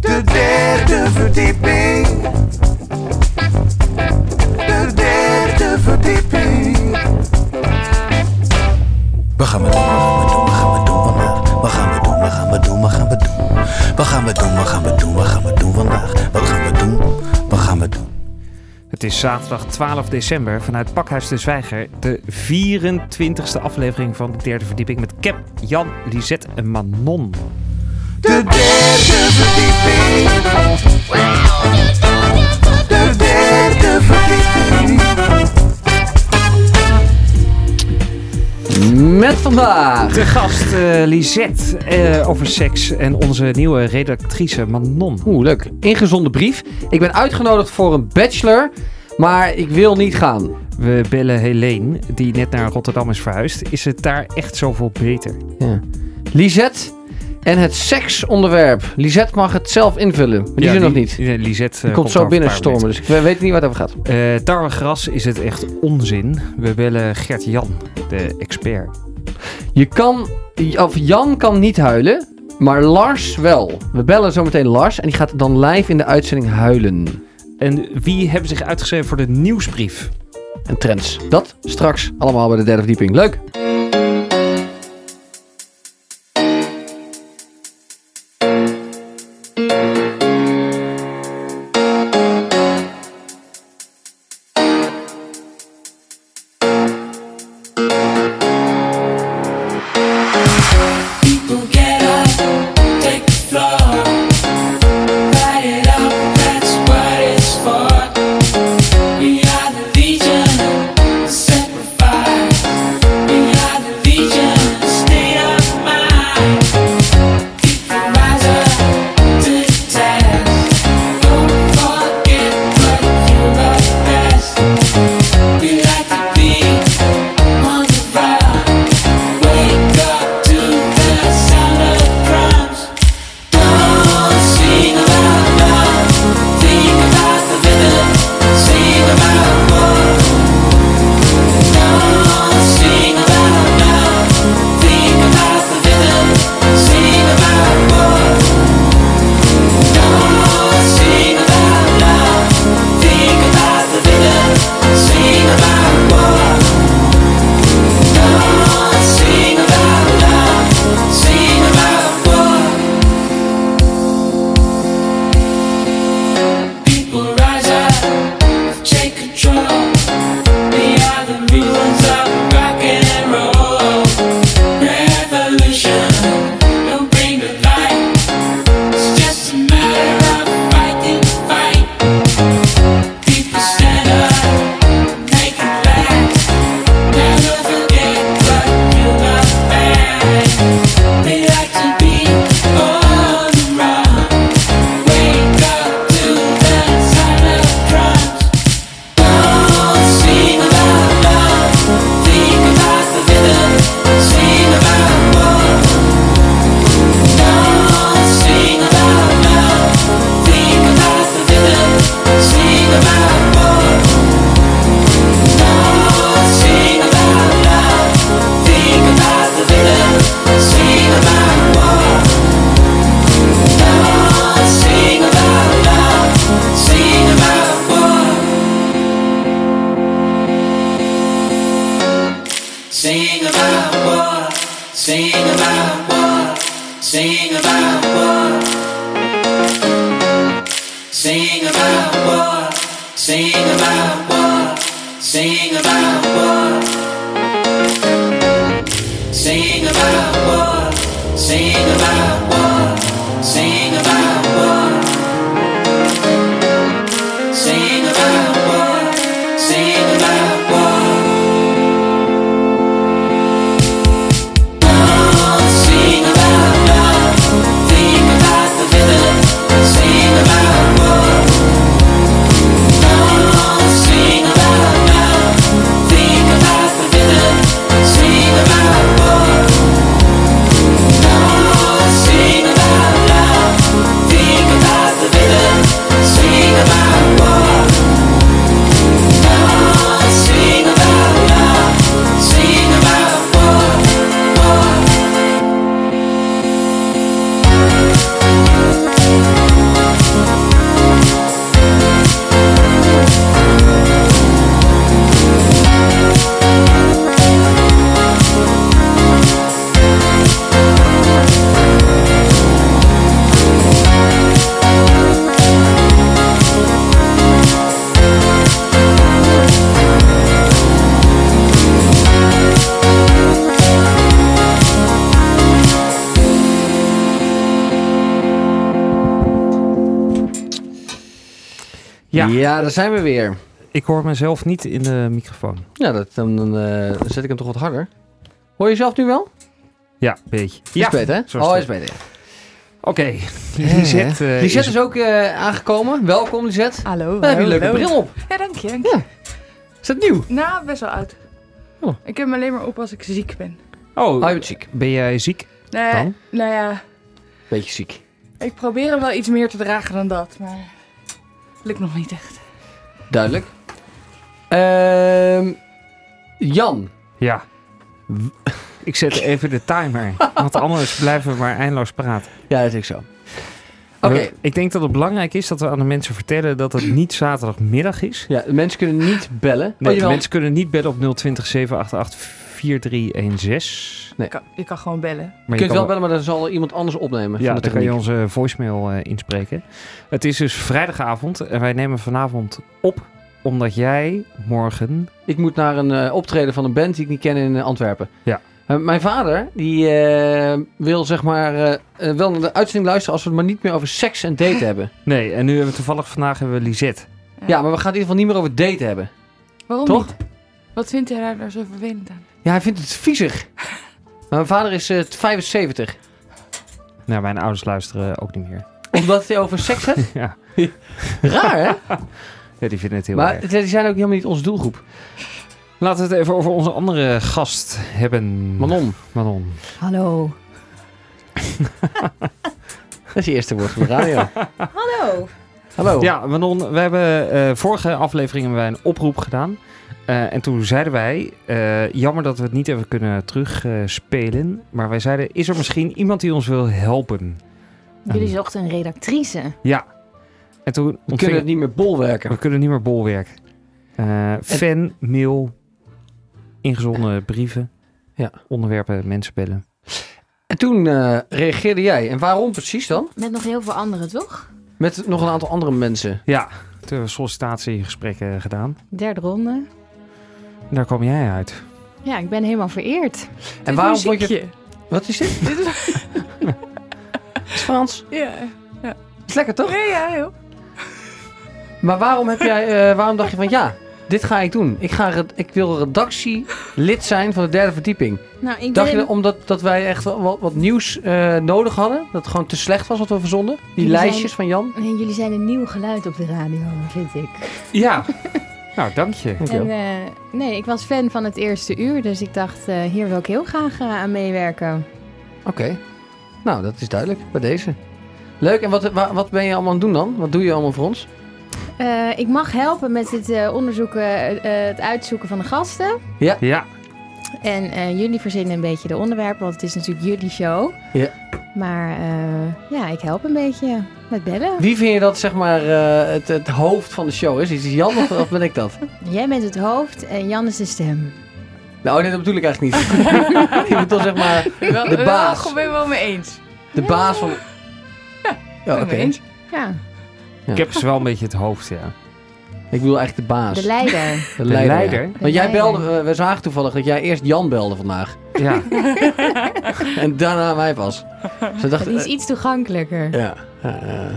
De derde verdieping. De derde verdieping. Wat gaan we doen? Wat gaan we doen? Wat gaan we doen? Wat gaan we doen? Wat gaan we doen? Wat gaan we doen? Wat gaan we doen? Wat gaan we doen? Wat gaan we doen vandaag? Wat gaan we doen? Wat gaan we doen? Het is zaterdag 12 december vanuit Pakhuis de Zwijger. De 24e aflevering van de derde verdieping met Cap, Jan, Lisette en Manon. De derde verdieping. De derde verdieping. Met vandaag. De gast eh Lisette eh, over seks en onze nieuwe redactrice Manon. Oeh, leuk. Ingezonden brief. Ik ben uitgenodigd voor een bachelor, maar ik wil niet gaan. We bellen Helene, die net naar Rotterdam is verhuisd. Is het daar echt zoveel beter? Ja. Lisette en het seksonderwerp. Lisette mag het zelf invullen, maar die is er nog niet. Die eh, Lisette eh, komt over zo een paar binnenstormen, dus ik weet niet waar het over gaat. Eh, tarwegras is het echt onzin. We bellen Gert-Jan, de expert. Je kan, of Jan kan niet huilen, maar Lars wel. We bellen zometeen Lars en die gaat dan live in de uitzending huilen. En wie hebben zich uitgeschreven voor de nieuwsbrief? En trends. Dat straks allemaal bij de derde verdieping. Leuk. People get up, take the floor, light it up. That's what it's for. We are the legion, set the fire. We are the legion, state of mind. People rise up to the task. Don't forget what you love best. We like to be on the fire. Wake up to the sound of drums. Don't sing about love, think about the rhythm, sing about war. Don't sing about love, think about the rhythm, sing about war. Don't sing about love, think about the rhythm, sing about war. Don't sing about love, sing about war. People rise up, take control. We are the rules of rock and roll. Revolution, don't bring the light. It's just a matter of fighting the fight. People stand up, make it last. Never forget what you love best. We like to be on the run. Wake up to the sound of drums. Don't sing about love, think about the rhythm. Sing about war. Don't sing about love, think about the rhythm. Sing about war. Don't sing about love, think about the rhythm. Sing about war. Don't sing about love, sing about war. Sing about war. Sing about war. Sing about war. Sing about war. Sing about war. Sing about war. Sing about war. Sing about war. Sing about war. Sing about war. Sing about war. Don't Oh, sing about love. Think about the rhythm. Sing about war. Don't sing about love. Think about the rhythm. Sing about war. Don't sing Ja. daar zijn we weer. Ik hoor mezelf niet in de microfoon. Ja, dat, dan, dan, eh, dan zet ik hem toch wat harder. Hoor je zelf nu wel? Ja, een beetje. Is Ja, beter, hè? Zoals Oh, het- is beter, ja. oké. Lisette, eh, Lisette is- is ook eh, aangekomen. Welkom, Lisette. Hallo. Daar heb je een leuke hallo. bril op. Ja, dank je. dank Ja. je. Is dat nieuw? Nou, best wel oud. Oh. Ik heb hem alleen maar op als ik ziek ben. Oh, Oh, je bent ziek. ben jij ziek? Nee, Dan? Nou ja, Beetje ziek. ik probeer hem wel iets meer te dragen dan dat, maar lukt nog niet echt. Duidelijk. Ehm, Jan. Ja. Ik zet even de timer, want anders blijven we maar eindeloos praten. Ja, dat is ik zo. Oké. We- Ik denk dat het belangrijk is dat we aan de mensen vertellen dat het niet zaterdagmiddag is. Ja, de mensen kunnen niet bellen. Nee, jawel. mensen kunnen niet bellen op 020 788 4316. Je kan, je kan gewoon bellen. Maar Je kunt wel bellen, maar dan zal iemand anders opnemen. Ja, van de dan kan je techniek. onze voicemail eh, inspreken. Het is dus vrijdagavond en wij nemen vanavond op omdat jij morgen... Ik moet naar een eh, optreden van een band die ik niet ken in eh, Antwerpen. Ja. Eh, mijn vader, die eh, wil zeg maar eh, eh, wel naar de uitzending luisteren als we het maar niet meer over seks en daten hebben. Nee, en nu hebben we toevallig vandaag hebben we Lisette. Ja. Ja, maar we gaan het in ieder geval niet meer over daten hebben. Waarom Toch? niet? Wat vindt hij daar nou zo vervelend aan? Ja, hij vindt het viezig. Maar mijn vader is eh, 75. Nou, mijn ouders luisteren ook niet meer. Omdat hij over seks hebt? Ja. Raar, hè? Ja, die vinden het heel erg. Maar die zijn ook helemaal niet onze doelgroep. Laten we het even over onze andere gast hebben. Manon, Manon. Hallo. dat is je eerste woord van de radio. Hallo. Hallo. Ja, Manon, we hebben eh, vorige aflevering hebben wij een oproep gedaan. Eh, en toen zeiden wij, eh, jammer dat we het niet hebben kunnen terugspelen. maar wij zeiden, is er misschien iemand die ons wil helpen? Jullie zochten een redactrice. En toen We kunnen het ontvingen- niet meer bolwerken. we kunnen niet meer bolwerk. Eh fan, mail, ingezonden brieven, Ja. onderwerpen, mensen bellen. En toen eh, reageerde jij. En waarom precies dan? Met nog heel veel anderen, toch? Met nog een aantal andere mensen. Ja, toen hebben we sollicitatiegesprekken eh, gedaan. Derde ronde. En daar kwam jij uit. Ja, ik ben helemaal vereerd. En waarom vond je... je... Wat is dit? Dit is... Het is Frans. Ja. is lekker toch? Nee, ja, joh. Maar waarom, heb jij, eh, waarom dacht je van ja, dit ga ik doen. Ik, ga red- ik wil redactielid zijn van de derde verdieping. Nou, ik Dacht je ben... dat omdat dat wij echt wel wat, wat nieuws eh, nodig hadden? Dat het gewoon te slecht was wat we verzonden? Die Jullie lijstjes zijn- van Jan? Nee, jullie zijn een nieuw geluid op de radio, vind ik. Ja. nou, dank je. En, eh, nee, ik was fan van het eerste uur, dus ik dacht, eh, hier wil ik heel graag eh, aan meewerken. Oké. Nou, dat is duidelijk bij deze. Leuk. En wat, wa- wat ben je allemaal aan het doen dan? Wat doe je allemaal voor ons? Eh, ik mag helpen met het eh, onderzoeken, eh, eh, het uitzoeken van de gasten. Ja, En eh, jullie verzinnen een beetje de onderwerpen, want het is natuurlijk jullie show. Ja. Maar eh, ja, ik help een beetje met bellen. Wie vind je dat zeg maar eh, het, het hoofd van de show is? Is het Jan of, of ben ik dat? Jij bent het hoofd en Jan is de stem. Nou, nee, dat bedoel ik eigenlijk niet. ik bedoel zeg maar Wel, de baas. Wel, ben je wel mee eens. de baas van... Ja, oké. Ben je mee eens? Ja, Ja. ik heb ze wel een beetje het hoofd, ja. Ik bedoel eigenlijk de baas. de leider. De De leider. ja. Want jij leider. belde, eh, we- we zagen toevallig dat jij eerst Jan belde vandaag. Ja. En daarna mij pas. Ze dacht, Die is iets toegankelijker. eh, ja. eh, eh,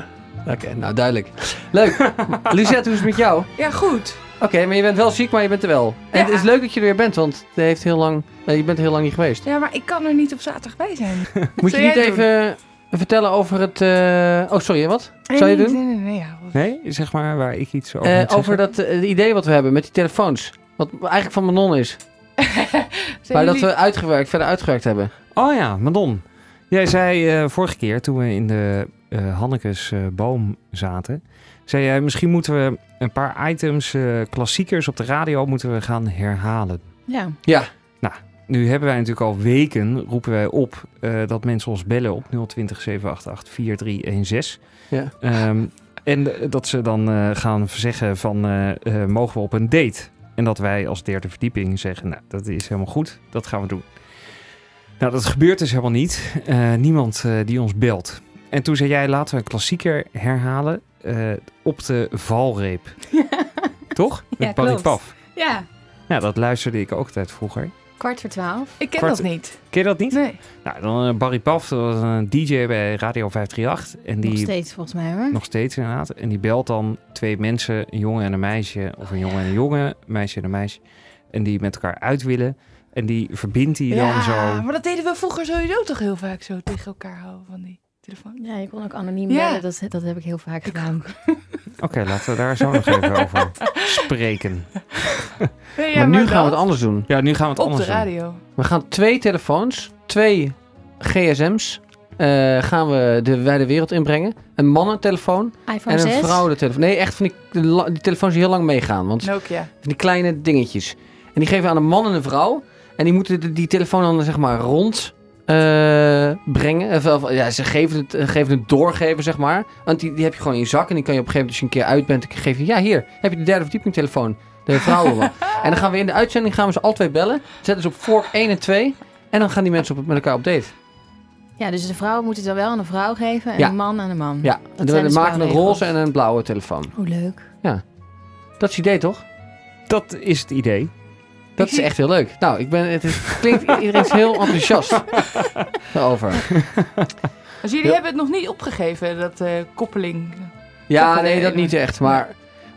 Oké, nou duidelijk. Leuk. Lisette, hoe is het met jou? Ja, goed. Oké, maar je bent wel ziek, maar je bent er wel. En het is leuk dat je er weer bent, want je, heeft heel lang, eh, je bent er heel lang niet geweest. Ja, maar ik kan er niet op zaterdag bij zijn. Moet je Zou niet jij het doen? even eh, vertellen over het... eh, Oh, sorry, wat? Zou je Nee, doen? Nee, nee, nee, ja, hoor. Nee, zeg maar waar ik iets over Eh, moet over zeggen. dat eh, idee wat we hebben met die telefoons. Wat eigenlijk van Manon is. Zijn maar dat jullie- we uitgewerkt, verder uitgewerkt hebben. Oh ja, Manon. Jij zei eh, vorige keer, toen we in de eh Hannekes eh, boom zaten... zei jij, misschien moeten we een paar items, eh, klassiekers op de radio... moeten we gaan herhalen. Ja. Nou, Nu hebben wij natuurlijk al weken, roepen wij op... eh, dat mensen ons bellen op 020 788 4316. Ja. Ehm, en eh, dat ze dan eh, gaan zeggen van, eh, eh, mogen we op een date? En dat wij als derde verdieping zeggen, nou, dat is helemaal goed, dat gaan we doen. Nou, dat gebeurt dus helemaal niet. Eh, niemand eh, die ons belt. En toen zei jij, laten we een klassieker herhalen eh, op de valreep. Toch? Met Ja, Barry klopt. Paf. Ja. Nou, dat luisterde ik ook altijd vroeger. Kwart voor twaalf. Ik ken Kwart- dat niet. Ken je dat niet? Nee. Nou, dan eh, Barry Paf, dat was een DJ bij Radio 538. En die Nog steeds volgens mij hoor. Nog steeds inderdaad. En die belt dan twee mensen, een jongen en een meisje. Of een jongen en een jongen, een meisje en een meisje. En die met elkaar uit willen. En die verbindt die dan zo. maar dat deden we vroeger sowieso toch heel vaak zo tegen elkaar houden van die telefoon. Ja, je kon ook anoniem Ja. bellen. Dat, dat heb ik heel vaak gedaan. Oké, laten we daar zo nog even over spreken. Nee, ja, maar nu maar gaan we dat. het anders doen. Ja, nu gaan we het Op anders de doen. radio. We gaan twee telefoons, twee gsm's, eh, gaan we de wijde wereld inbrengen. Een mannentelefoon iPhone en 6. een vrouwentelefoon. Nee, echt van die, de la- die telefoons die heel lang meegaan. Want Nokia. van die kleine dingetjes. En die geven we aan een man en een vrouw. En die moeten de- die telefoon dan zeg maar rond eh, brengen. Of- of- ja, ze geven het, eh, geven het doorgeven, zeg maar. Want die, die heb je gewoon in je zak. En die kan je op een gegeven moment, als je een keer uit bent, dan geef je... Ja, hier, heb je de derde verdieping telefoon. De vrouwen wel. En dan gaan we in de uitzending gaan we ze al twee bellen. Zetten ze op vork 1 en 2. En dan gaan die mensen op, met elkaar op date. Ja, dus de vrouw moet het dan wel aan een vrouw geven en Ja. een man aan een man. Ja, en zijn de dan maken we een spelregels. roze en een blauwe telefoon. Hoe leuk. Dat is het idee, toch? Dat is het idee. Dat is echt heel leuk. Nou, ik ben, het is- klinkt, iedereen is heel enthousiast over. Dus jullie Ja. hebben het nog niet opgegeven, dat eh, koppeling. Ja, Koppelen nee, dat in- niet echt. Maar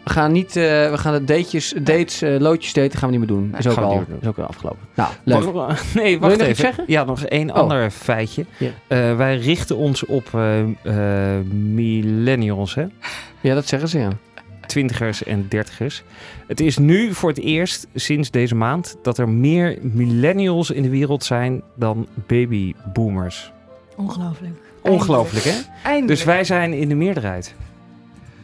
we gaan niet, eh, we gaan de datejes, dates, eh, loodjes daten gaan we niet meer doen. Is ook, gaan we al, niet meer is ook al afgelopen. Nou, leuk. Wacht, nee, wacht nog iets even. zeggen? Ja, nog één Oh. ander feitje. Ja. Eh, wij richten ons op eh, eh, millennials, hè? Ja, dat zeggen ze, ja. twintigers en dertigers. Het is nu voor het eerst sinds deze maand dat er meer millennials in de wereld zijn dan babyboomers. Ongelooflijk. Ongelooflijk, hè? Eindelijk. Dus wij zijn in de meerderheid.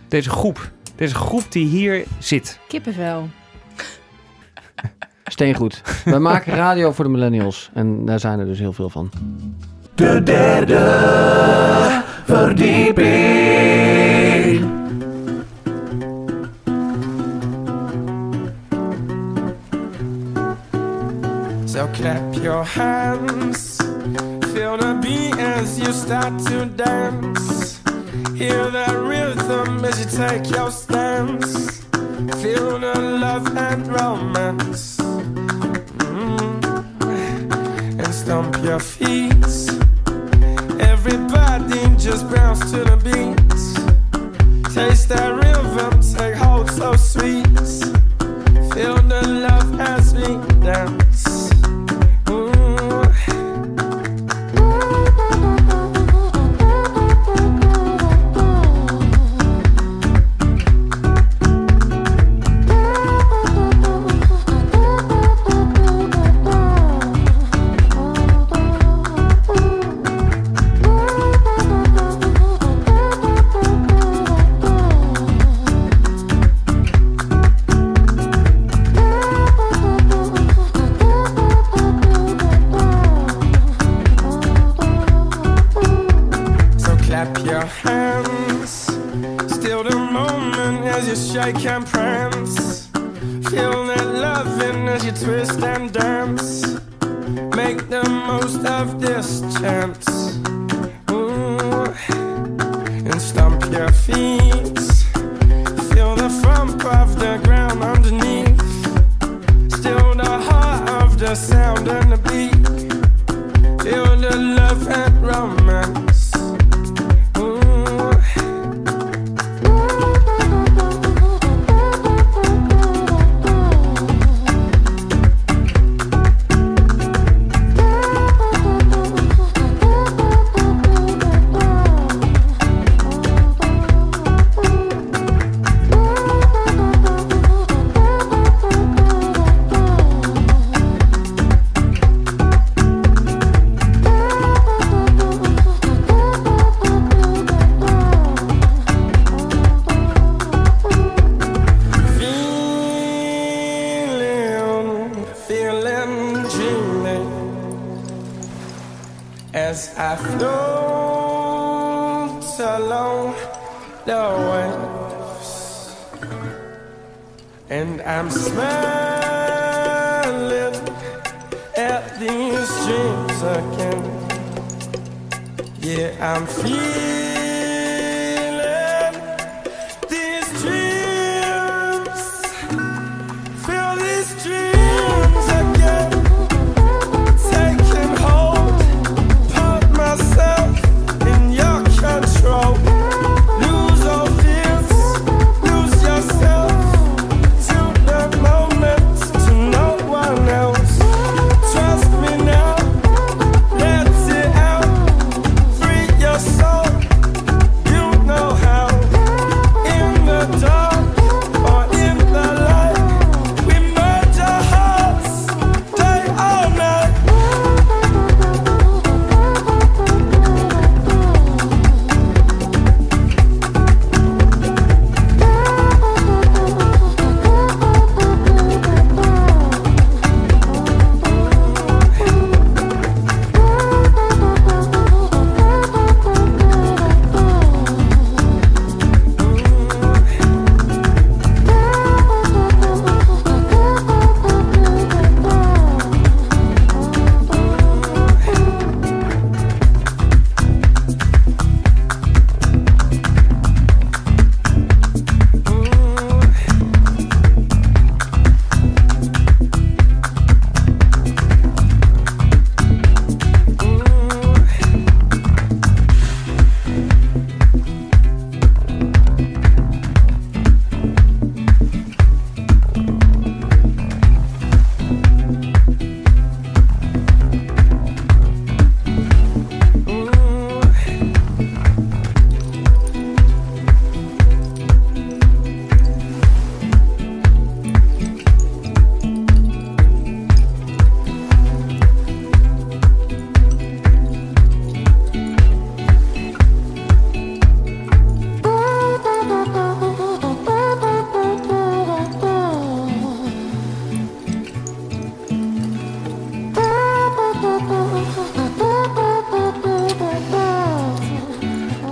Deze groep. Deze groep die hier zit. Kippenvel. Steengoed. Wij maken radio voor de millennials. En daar zijn er dus heel veel van. De derde verdieping. So clap your hands, feel the beat as you start to dance. Hear that rhythm as you take your stance. Feel the love and romance. Mm. And stomp your feet. Everybody just bounce to the beat. Taste that rhythm, take hold so sweet. Feel the love as we dance. Ooh. So clap your hands. Still the moment as you shake and prance. Feel that loving as you twist and dance. Make the most of this chance. Ooh. And stomp your feet. Feel the thump of the ground underneath. Still the heart of the sound and the beat. Feel the love and romance. Ooh. Feeling, feeling, dreaming as I float along the waves, and I'm smiling at these dreams again. Yeah, I'm feeling these dreams. Feel these dreams again.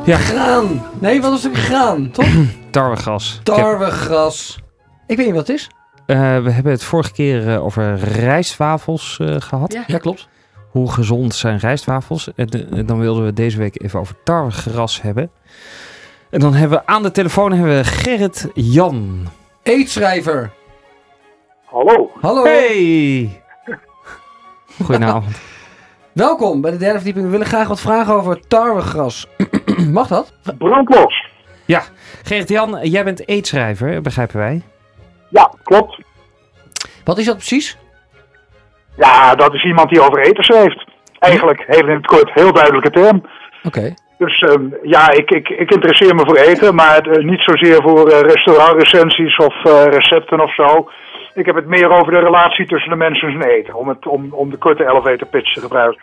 Ja. Graan. Nee, wat was het? Graan, toch? Tarwegas. Ik heb- Tarwegras. Ik weet niet wat het is. eh, we hebben het vorige keer eh, over rijstwafels eh, gehad. Ja. Ja, klopt. Hoe gezond zijn rijstwafels? En, eh, dan wilden we deze week even over tarwegras hebben. En dan hebben we aan de telefoon hebben we Gerrit Jan. Eetschrijver. Hallo, Hallo. Hey! Goedenavond. Welkom bij de derde verdieping. We willen graag wat vragen over tarwegras. Mag dat? brandlos. Gerrit Jan, jij bent eetschrijver, begrijpen wij. Ja, klopt. Wat is dat precies? Ja, dat is iemand die over eten schrijft. Eigenlijk, heel in het kort, heel duidelijke term. Oké. Dus ehm, ja, ik, ik, ik interesseer me voor eten, maar eh, niet zozeer voor eh, restaurantrecensies of eh, recepten of zo. Ik heb het meer over de relatie tussen de mensen en eten, om, het, om, om de korte elevator pitch te gebruiken.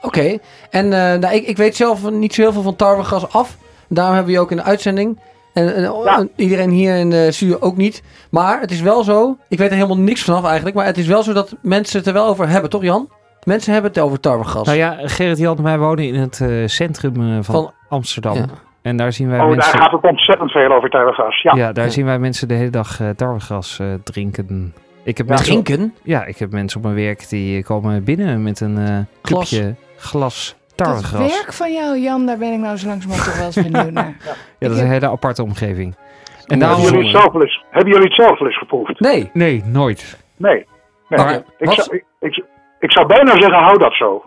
Oké. En eh, nou, ik, ik weet zelf niet zo heel veel van tarwegras af. Daarom hebben we je ook in de uitzending. En, en- Ja. iedereen hier in de studio ook niet. Maar het is wel zo. Ik weet er helemaal niks vanaf eigenlijk. Maar het is wel zo dat mensen het er wel over hebben, toch Jan? Mensen hebben het over tarwegras. Nou ja, Gerrit Jan en wij wonen in het eh, centrum eh, van, Van- Amsterdam. Ja. En daar zien wij Oh, daar mensen... gaat het ontzettend veel over tuigas. Ja. ja. daar Ja. zien wij mensen de hele dag eh, tarwegras eh, drinken. Ik heb, mensen op, Drinken? ja, ik heb mensen op mijn werk die komen binnen met een eh Glas. clubje glas Dat tarwegras. werk van jou, Jan, daar ben ik nou zo langzamerhand toch wel eens benieuwd naar. Ja, dat is Ik een hele aparte omgeving. En Hebben, jullie het daarom... zelf wel eens, hebben jullie het zelf wel eens geproefd? Nee. Nee, nooit. Nee. nee. Maar ik, wat- zou, ik, ik, ik zou bijna zeggen, hou dat zo.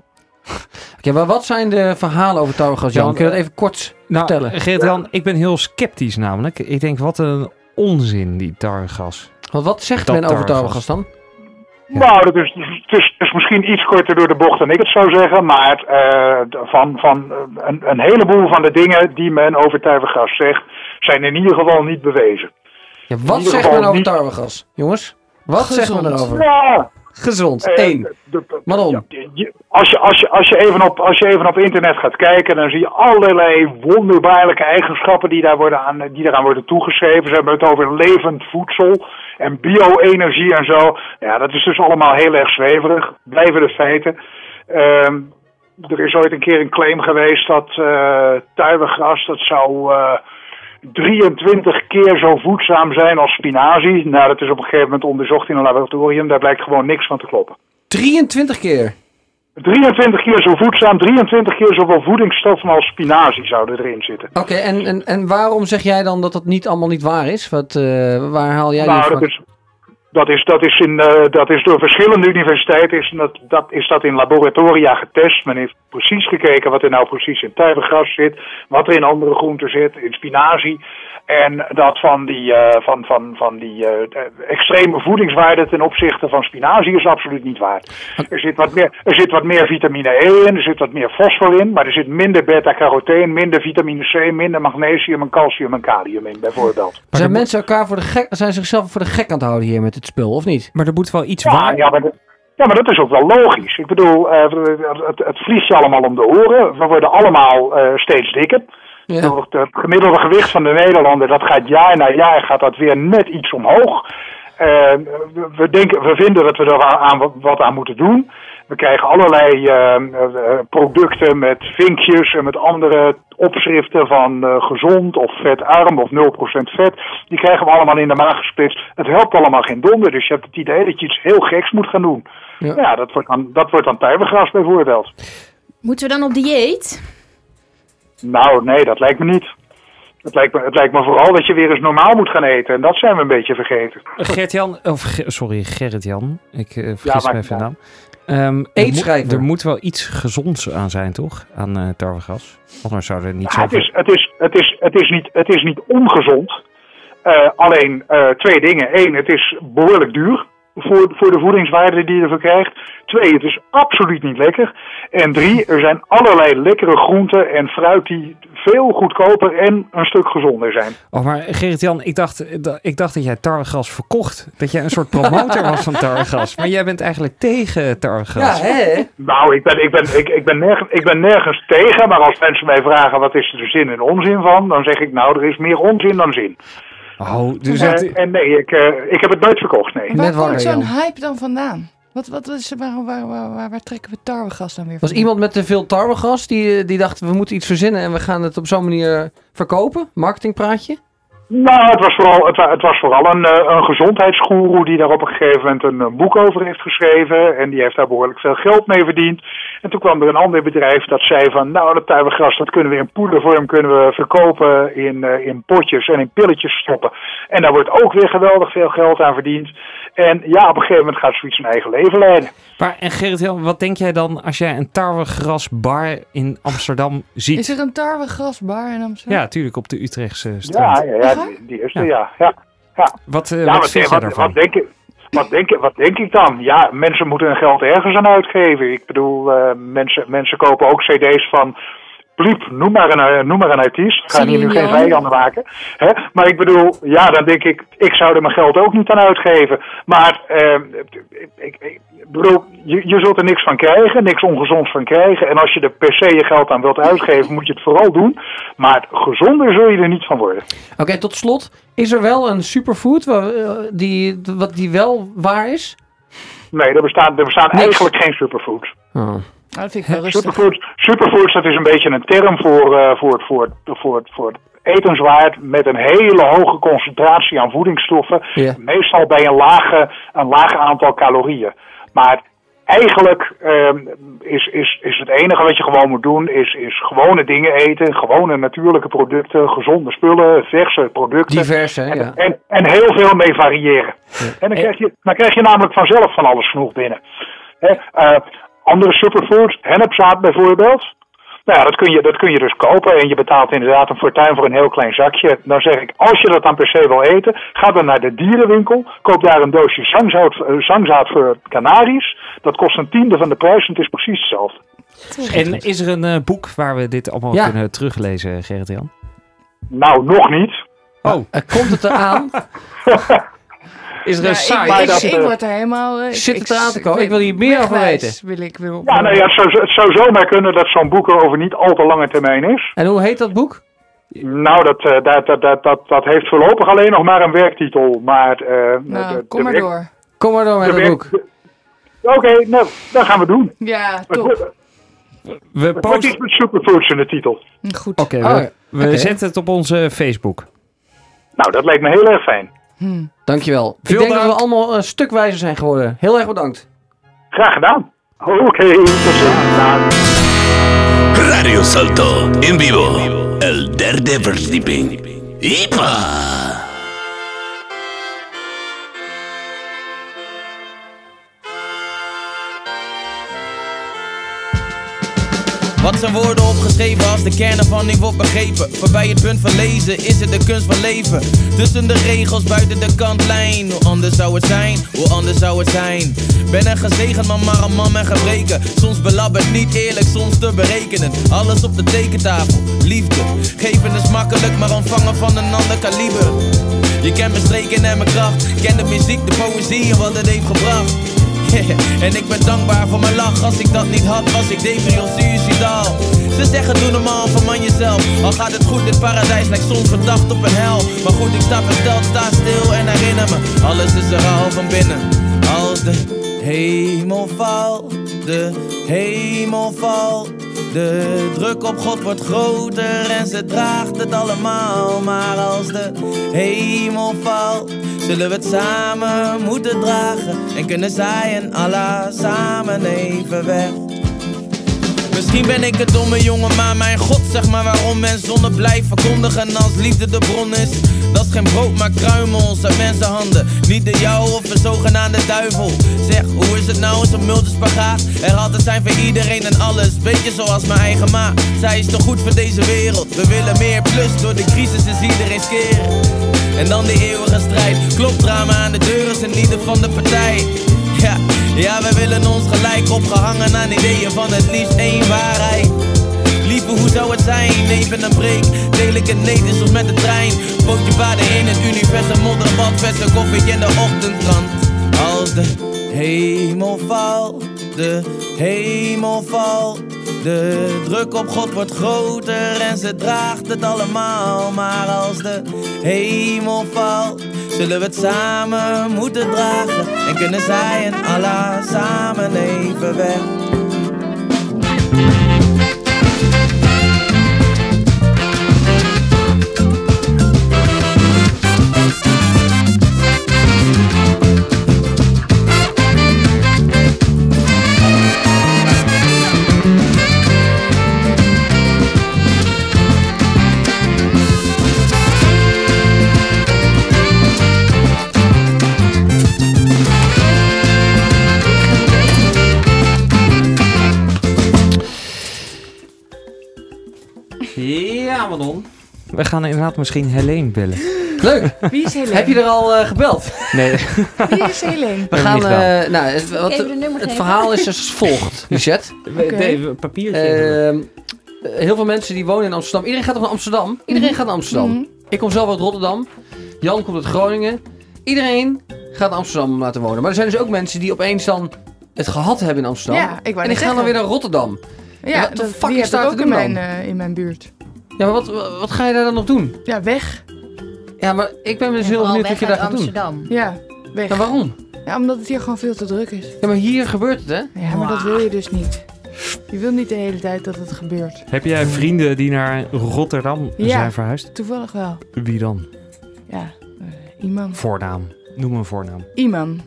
Oké, maar wat zijn de verhalen over tarwegras, Jan? Jan, Kun je dat even kort Nou, vertellen? Gerrit Jan, ik ben heel sceptisch namelijk. Ik denk, wat een onzin die tarwegras. Want wat zegt dat men over tarwegras. tarwegras dan? Ja. Nou, dat is, het, is, het is misschien iets korter door de bocht dan ik het zou zeggen, maar eh, van, van eh, een, een heleboel van de dingen die men over tuivergas zegt, zijn in ieder geval niet bewezen. Ja, wat ieder zegt geval men over niet- tarwegras? Jongens, wat Gezond. zegt men erover? Ja, Gezond. eh, Eén. de- de- Manon. ja, je- Als je, als, je, als, je even op, als je even op internet gaat kijken, dan zie je allerlei wonderbaarlijke eigenschappen die, daar worden aan, die eraan worden toegeschreven. Ze hebben het over levend voedsel en bio-energie en zo. Ja, dat is dus allemaal heel erg zweverig. Blijven de feiten. Ehm, er is ooit een keer een claim geweest dat eh tuiwegras, dat zou eh, 23 keer zo voedzaam zijn als spinazie. Nou, dat is op een gegeven moment onderzocht in een laboratorium. Daar blijkt gewoon niks van te kloppen. 23 keer. 23 keer zo voedzaam, 23 keer zoveel voedingsstoffen als spinazie zouden erin zitten. Oké, en, en, en waarom zeg jij dan dat dat niet allemaal niet waar is? Wat, eh, waar haal jij die nou, dat informatie- is, dat, is, dat, is in, eh, dat is door verschillende universiteiten is dat, dat, is dat in laboratoria getest. Men heeft precies gekeken wat er nou precies in tuivengras zit, wat er in andere groenten zit, in spinazie. En dat van die, eh, van, van, van die eh, extreme voedingswaarde ten opzichte van spinazie is absoluut niet waar. Er zit, wat meer, er zit wat meer vitamine E in, er zit wat meer fosfor in, maar er zit minder beta-carotene, minder vitamine C, minder magnesium en calcium en kalium in bijvoorbeeld. Zijn mensen elkaar voor de gek, zijn zichzelf voor de gek aan het houden hier met dit spul, of niet? Maar er moet wel iets Ja, waar... ja, maar dat, ja, maar dat is ook wel logisch. Ik bedoel, eh, het, het vliegt je allemaal om de oren. We worden allemaal eh, steeds dikker. Ja. Het gemiddelde gewicht van de Nederlander, dat gaat jaar na jaar gaat dat weer net iets omhoog. Eh, we- we, denken, we vinden dat we er wa- aan, wat aan moeten doen. We krijgen allerlei eh, eh, producten met vinkjes en met andere opschriften van eh, gezond of vetarm of 0% vet. Die krijgen we allemaal in de maag gesplitst. Het helpt allemaal geen donder, dus je hebt het idee dat je iets heel geks moet gaan doen. Ja. Ja, dat wordt dan, dat wordt dan tuivergras bijvoorbeeld. Moeten we dan op dieet? Nou, nee, dat lijkt me niet. Het lijkt me, het lijkt me vooral dat je weer eens normaal moet gaan eten. En dat zijn we een beetje vergeten. Gert-Jan, of Ge- sorry, Gerrit-Jan. Ik eh, vergis Ja, me maakt even de niet naam. Ehm, er Eetschrijver. moet- Er moet wel iets gezonds aan zijn, toch? Aan eh tarwegas. Anders zou er niet Ja, het, zoveel... is, het, is, het, is, het, is niet, het is niet ongezond. Eh, alleen eh, twee dingen. Eén, het is behoorlijk duur voor, voor de voedingswaarde die je ervoor krijgt. Twee, het is absoluut niet lekker. En drie, er zijn allerlei lekkere groenten en fruit die veel goedkoper en een stuk gezonder zijn. Oh, maar Gerrit-Jan, ik dacht, eh, da- ik dacht dat jij tarwegas verkocht. Dat jij een soort promotor was van tarwegas. Maar jij bent eigenlijk tegen Ja, tarwegas. hè? Nou, ik ben, ik, ben, ik, ik, ben nergens, ik ben nergens tegen, maar als mensen mij vragen wat is er de zin en onzin van, dan zeg ik nou, er is meer onzin dan zin. oh, dus Eh, het, en nee, ik, eh, ik heb het nooit verkocht, nee. Waar Net komt wakker, zo'n Jan. hype dan vandaan? Wat, wat is, waar, waar, waar, waar, waar trekken we tarwegas dan weer Was iemand met te veel tarwegas die, eh, die dacht we moeten iets verzinnen en we gaan het op zo'n manier verkopen? Marketingpraatje? Nou, het was vooral, het, wa- het was vooral een, eh, een gezondheidsgoeroe die daar op een gegeven moment een, eh, boek over heeft geschreven. En die heeft daar behoorlijk veel geld mee verdiend. En toen kwam er een ander bedrijf dat zei van, nou dat tuiwegras dat kunnen we in poedervorm kunnen we verkopen in, eh, in potjes en in pilletjes stoppen. En daar wordt ook weer geweldig veel geld aan verdiend. En ja, op een gegeven moment gaat zoiets zijn eigen leven leiden. Maar, en Gerrit, Jan, wat denk jij dan als jij een tarwegrasbar in Amsterdam ziet? Is er een tarwegrasbar in Amsterdam? Ja, tuurlijk, op de Utrechtse straat. Ja, ja, ja, die, die is er, ja. ja. Wat, eh, Ja, wat wat, vind jij wat, daarvan? wat denk ik? Wat denk, ik- wat denk ik dan? Ja, mensen moeten hun geld ergens aan uitgeven. Ik bedoel, eh, mensen, mensen kopen ook cd's van... Pliep, noem maar een, eh, noem maar een artiest. We gaan hier nu Celine geen Dion. vijanden maken. Hè? Maar ik bedoel, ja, dan denk ik... Ik zou er mijn geld ook niet aan uitgeven. Maar, eh, ik, ik, ik bedoel, je, je zult er niks van krijgen. Niks ongezonds van krijgen. En als je er per se je geld aan wilt uitgeven, moet je het vooral doen. Maar gezonder zul je er niet van worden. Oké, tot slot. Is er wel een superfood waar, eh, die, wat die wel waar is? Nee, er bestaan, er bestaan Niks. eigenlijk geen superfoods. Oh, Nou, dat vind ik wel rustig. Superfoods, superfoods, dat is een beetje een term voor, eh, voor, het- voor, het- voor, het- voor het etenswaard met een hele hoge concentratie aan voedingsstoffen. Ja. Meestal bij een lage, een laag aantal calorieën. Maar eigenlijk ehm, is, is, is het enige wat je gewoon moet doen, is, is gewone dingen eten, gewone natuurlijke producten, gezonde spullen, verse producten. Diverse, hè? en, Ja. en, en heel veel mee variëren. En dan krijg, je, dan krijg je namelijk vanzelf van alles genoeg binnen. Hè, eh, andere superfoods, hennepzaad bijvoorbeeld. Nou ja, dat kun, je, dat kun je dus kopen en je betaalt inderdaad een fortuin voor een heel klein zakje. Dan zeg ik, als je dat dan per se wil eten, ga dan naar de dierenwinkel. Koop daar een doosje zangzaad, eh, zangzaad voor kanaries. Dat kost een tiende van de prijs en het is precies hetzelfde. En is er een eh, boek waar we dit allemaal Ja. kunnen teruglezen, Gerrit-Jan? Nou, nog niet. Oh, Eh, komt het eraan? is er Ja, een site? ik, ik, dat, ik eh, word er helemaal... eh, ik- Zit ik- het eraan te komen? Ik wil hier meer over wegwijs weten. Wil ik, wil, Ja, nou ja, het zou, het zou zomaar kunnen dat zo'n boek er over niet al te lange termijn is. En hoe heet dat boek? Nou, dat, eh, dat, dat, dat, dat, dat heeft voorlopig alleen nog maar een werktitel. Maar, eh, Nou, de- kom de maar werk- door. Kom maar door de met dat werk- boek. Oké, nou, dat gaan we doen. Ja, Het top. wordt- We Het wordt posten... iets met superfoods in de titel. Goed. Oké, Oh, we, we oké. zetten het op onze Facebook. Nou, dat lijkt me heel erg fijn. Hm. Dankjewel. Veel ik denk dat dank. we allemaal een stuk wijzer zijn geworden. Heel erg bedankt. Graag gedaan. Oké, tot ziens. Nou, Radio Salto en vivo, el derde verdieping. ¡Ipa! Wat zijn woorden opgeschreven als de kern ervan niet wordt begrepen? Voorbij het punt van lezen is het de kunst van leven. Tussen de regels, buiten de kantlijn. Hoe anders zou het zijn, hoe anders zou het zijn. Ben een gezegend man, maar een man met gebreken. Soms belabberd, niet eerlijk, soms te berekenen. Alles op de tekentafel, liefde. Geven is makkelijk, maar ontvangen van een ander kaliber. Je kent mijn streken en mijn kracht. Ken de muziek, de poëzie en wat het heeft gebracht. en ik ben dankbaar voor mijn lach. Als ik dat niet had, was ik depri of suicidaal. Ze zeggen doe normaal van man jezelf. Al gaat het goed, dit paradijs lijkt soms verdacht op een hel. Maar goed, ik sta versteld, sta stil en herinner me. Alles is er al van binnen. Als de hemel valt, de hemel valt. De druk op God wordt groter en ze draagt het allemaal. Maar als de hemel valt, zullen we het samen moeten dragen. En kunnen zij en Allah samen even weg. Misschien ben ik een domme jongen, maar mijn god zeg maar waarom men zonne blijft verkondigen als liefde de bron is. Dat is geen brood, maar kruimels uit mensenhanden. Niet de jouwe of een zogenaamde duivel. Zeg, hoe is het nou in zo'n multispagaat? Er had het zijn voor iedereen en alles, beetje zoals mijn eigen ma. Zij is te goed voor deze wereld. We willen meer plus, door de crisis is iedereen skeer. En dan die eeuwige strijd. Klopdrama aan de deur is een lieder van de partij. Ja, ja, we willen ons gelijk opgehangen aan ideeën van het liefst één waarheid. Lieve, hoe zou het zijn? Even een break. Deel ik een nee, is of met de trein. Bootje baden in het universum, modder, badvesten, koffie in de ochtendkrant. Als de hemel valt, de hemel valt. De druk op God wordt groter en ze draagt het allemaal. Maar als de hemel valt, Zullen we het samen moeten dragen? En kunnen zij en Allah samen even weg? Ja, Manon. We gaan inderdaad misschien Helene bellen. Leuk. Wie is Helene? Heb je er al eh, gebeld? Nee. Wie is Helene? We Hebben gaan, we niet gedaan. eh, nou, het, wat- Even de nummer het geven. verhaal is als volgt, Lisette. Oké. nee, een papiertje. heel veel mensen die wonen in Amsterdam. Iedereen gaat toch naar Amsterdam? Iedereen gaat naar Amsterdam. Mhm. Ik kom zelf uit Rotterdam. Jan komt uit Groningen. Iedereen gaat naar Amsterdam om laten wonen. Maar er zijn dus ook mensen die opeens dan het gehad hebben in Amsterdam. Ja, ik wou net en die gaan dan zeggen. weer naar Rotterdam. Ja, wat de dat, fuck die is heb daar ik te ook doen in mijn, dan? eh, in mijn buurt. Ja, maar wat, wat ga je daar dan nog doen? Ja, weg. Ja, maar ik ben dus heel vooral benieuwd wat weg je daar uit gaat doen. Amsterdam. Ja, weg. Maar waarom? Ja, omdat het hier gewoon veel te druk is. Ja, maar hier gebeurt het, hè? Ja, maar dat wil je dus niet. Je wil niet de hele tijd dat het gebeurt. Heb jij vrienden die naar Rotterdam Ja. zijn verhuisd? Toevallig wel. Wie dan? Ja, eh, Iman. Voornaam. Noem een voornaam. Iman.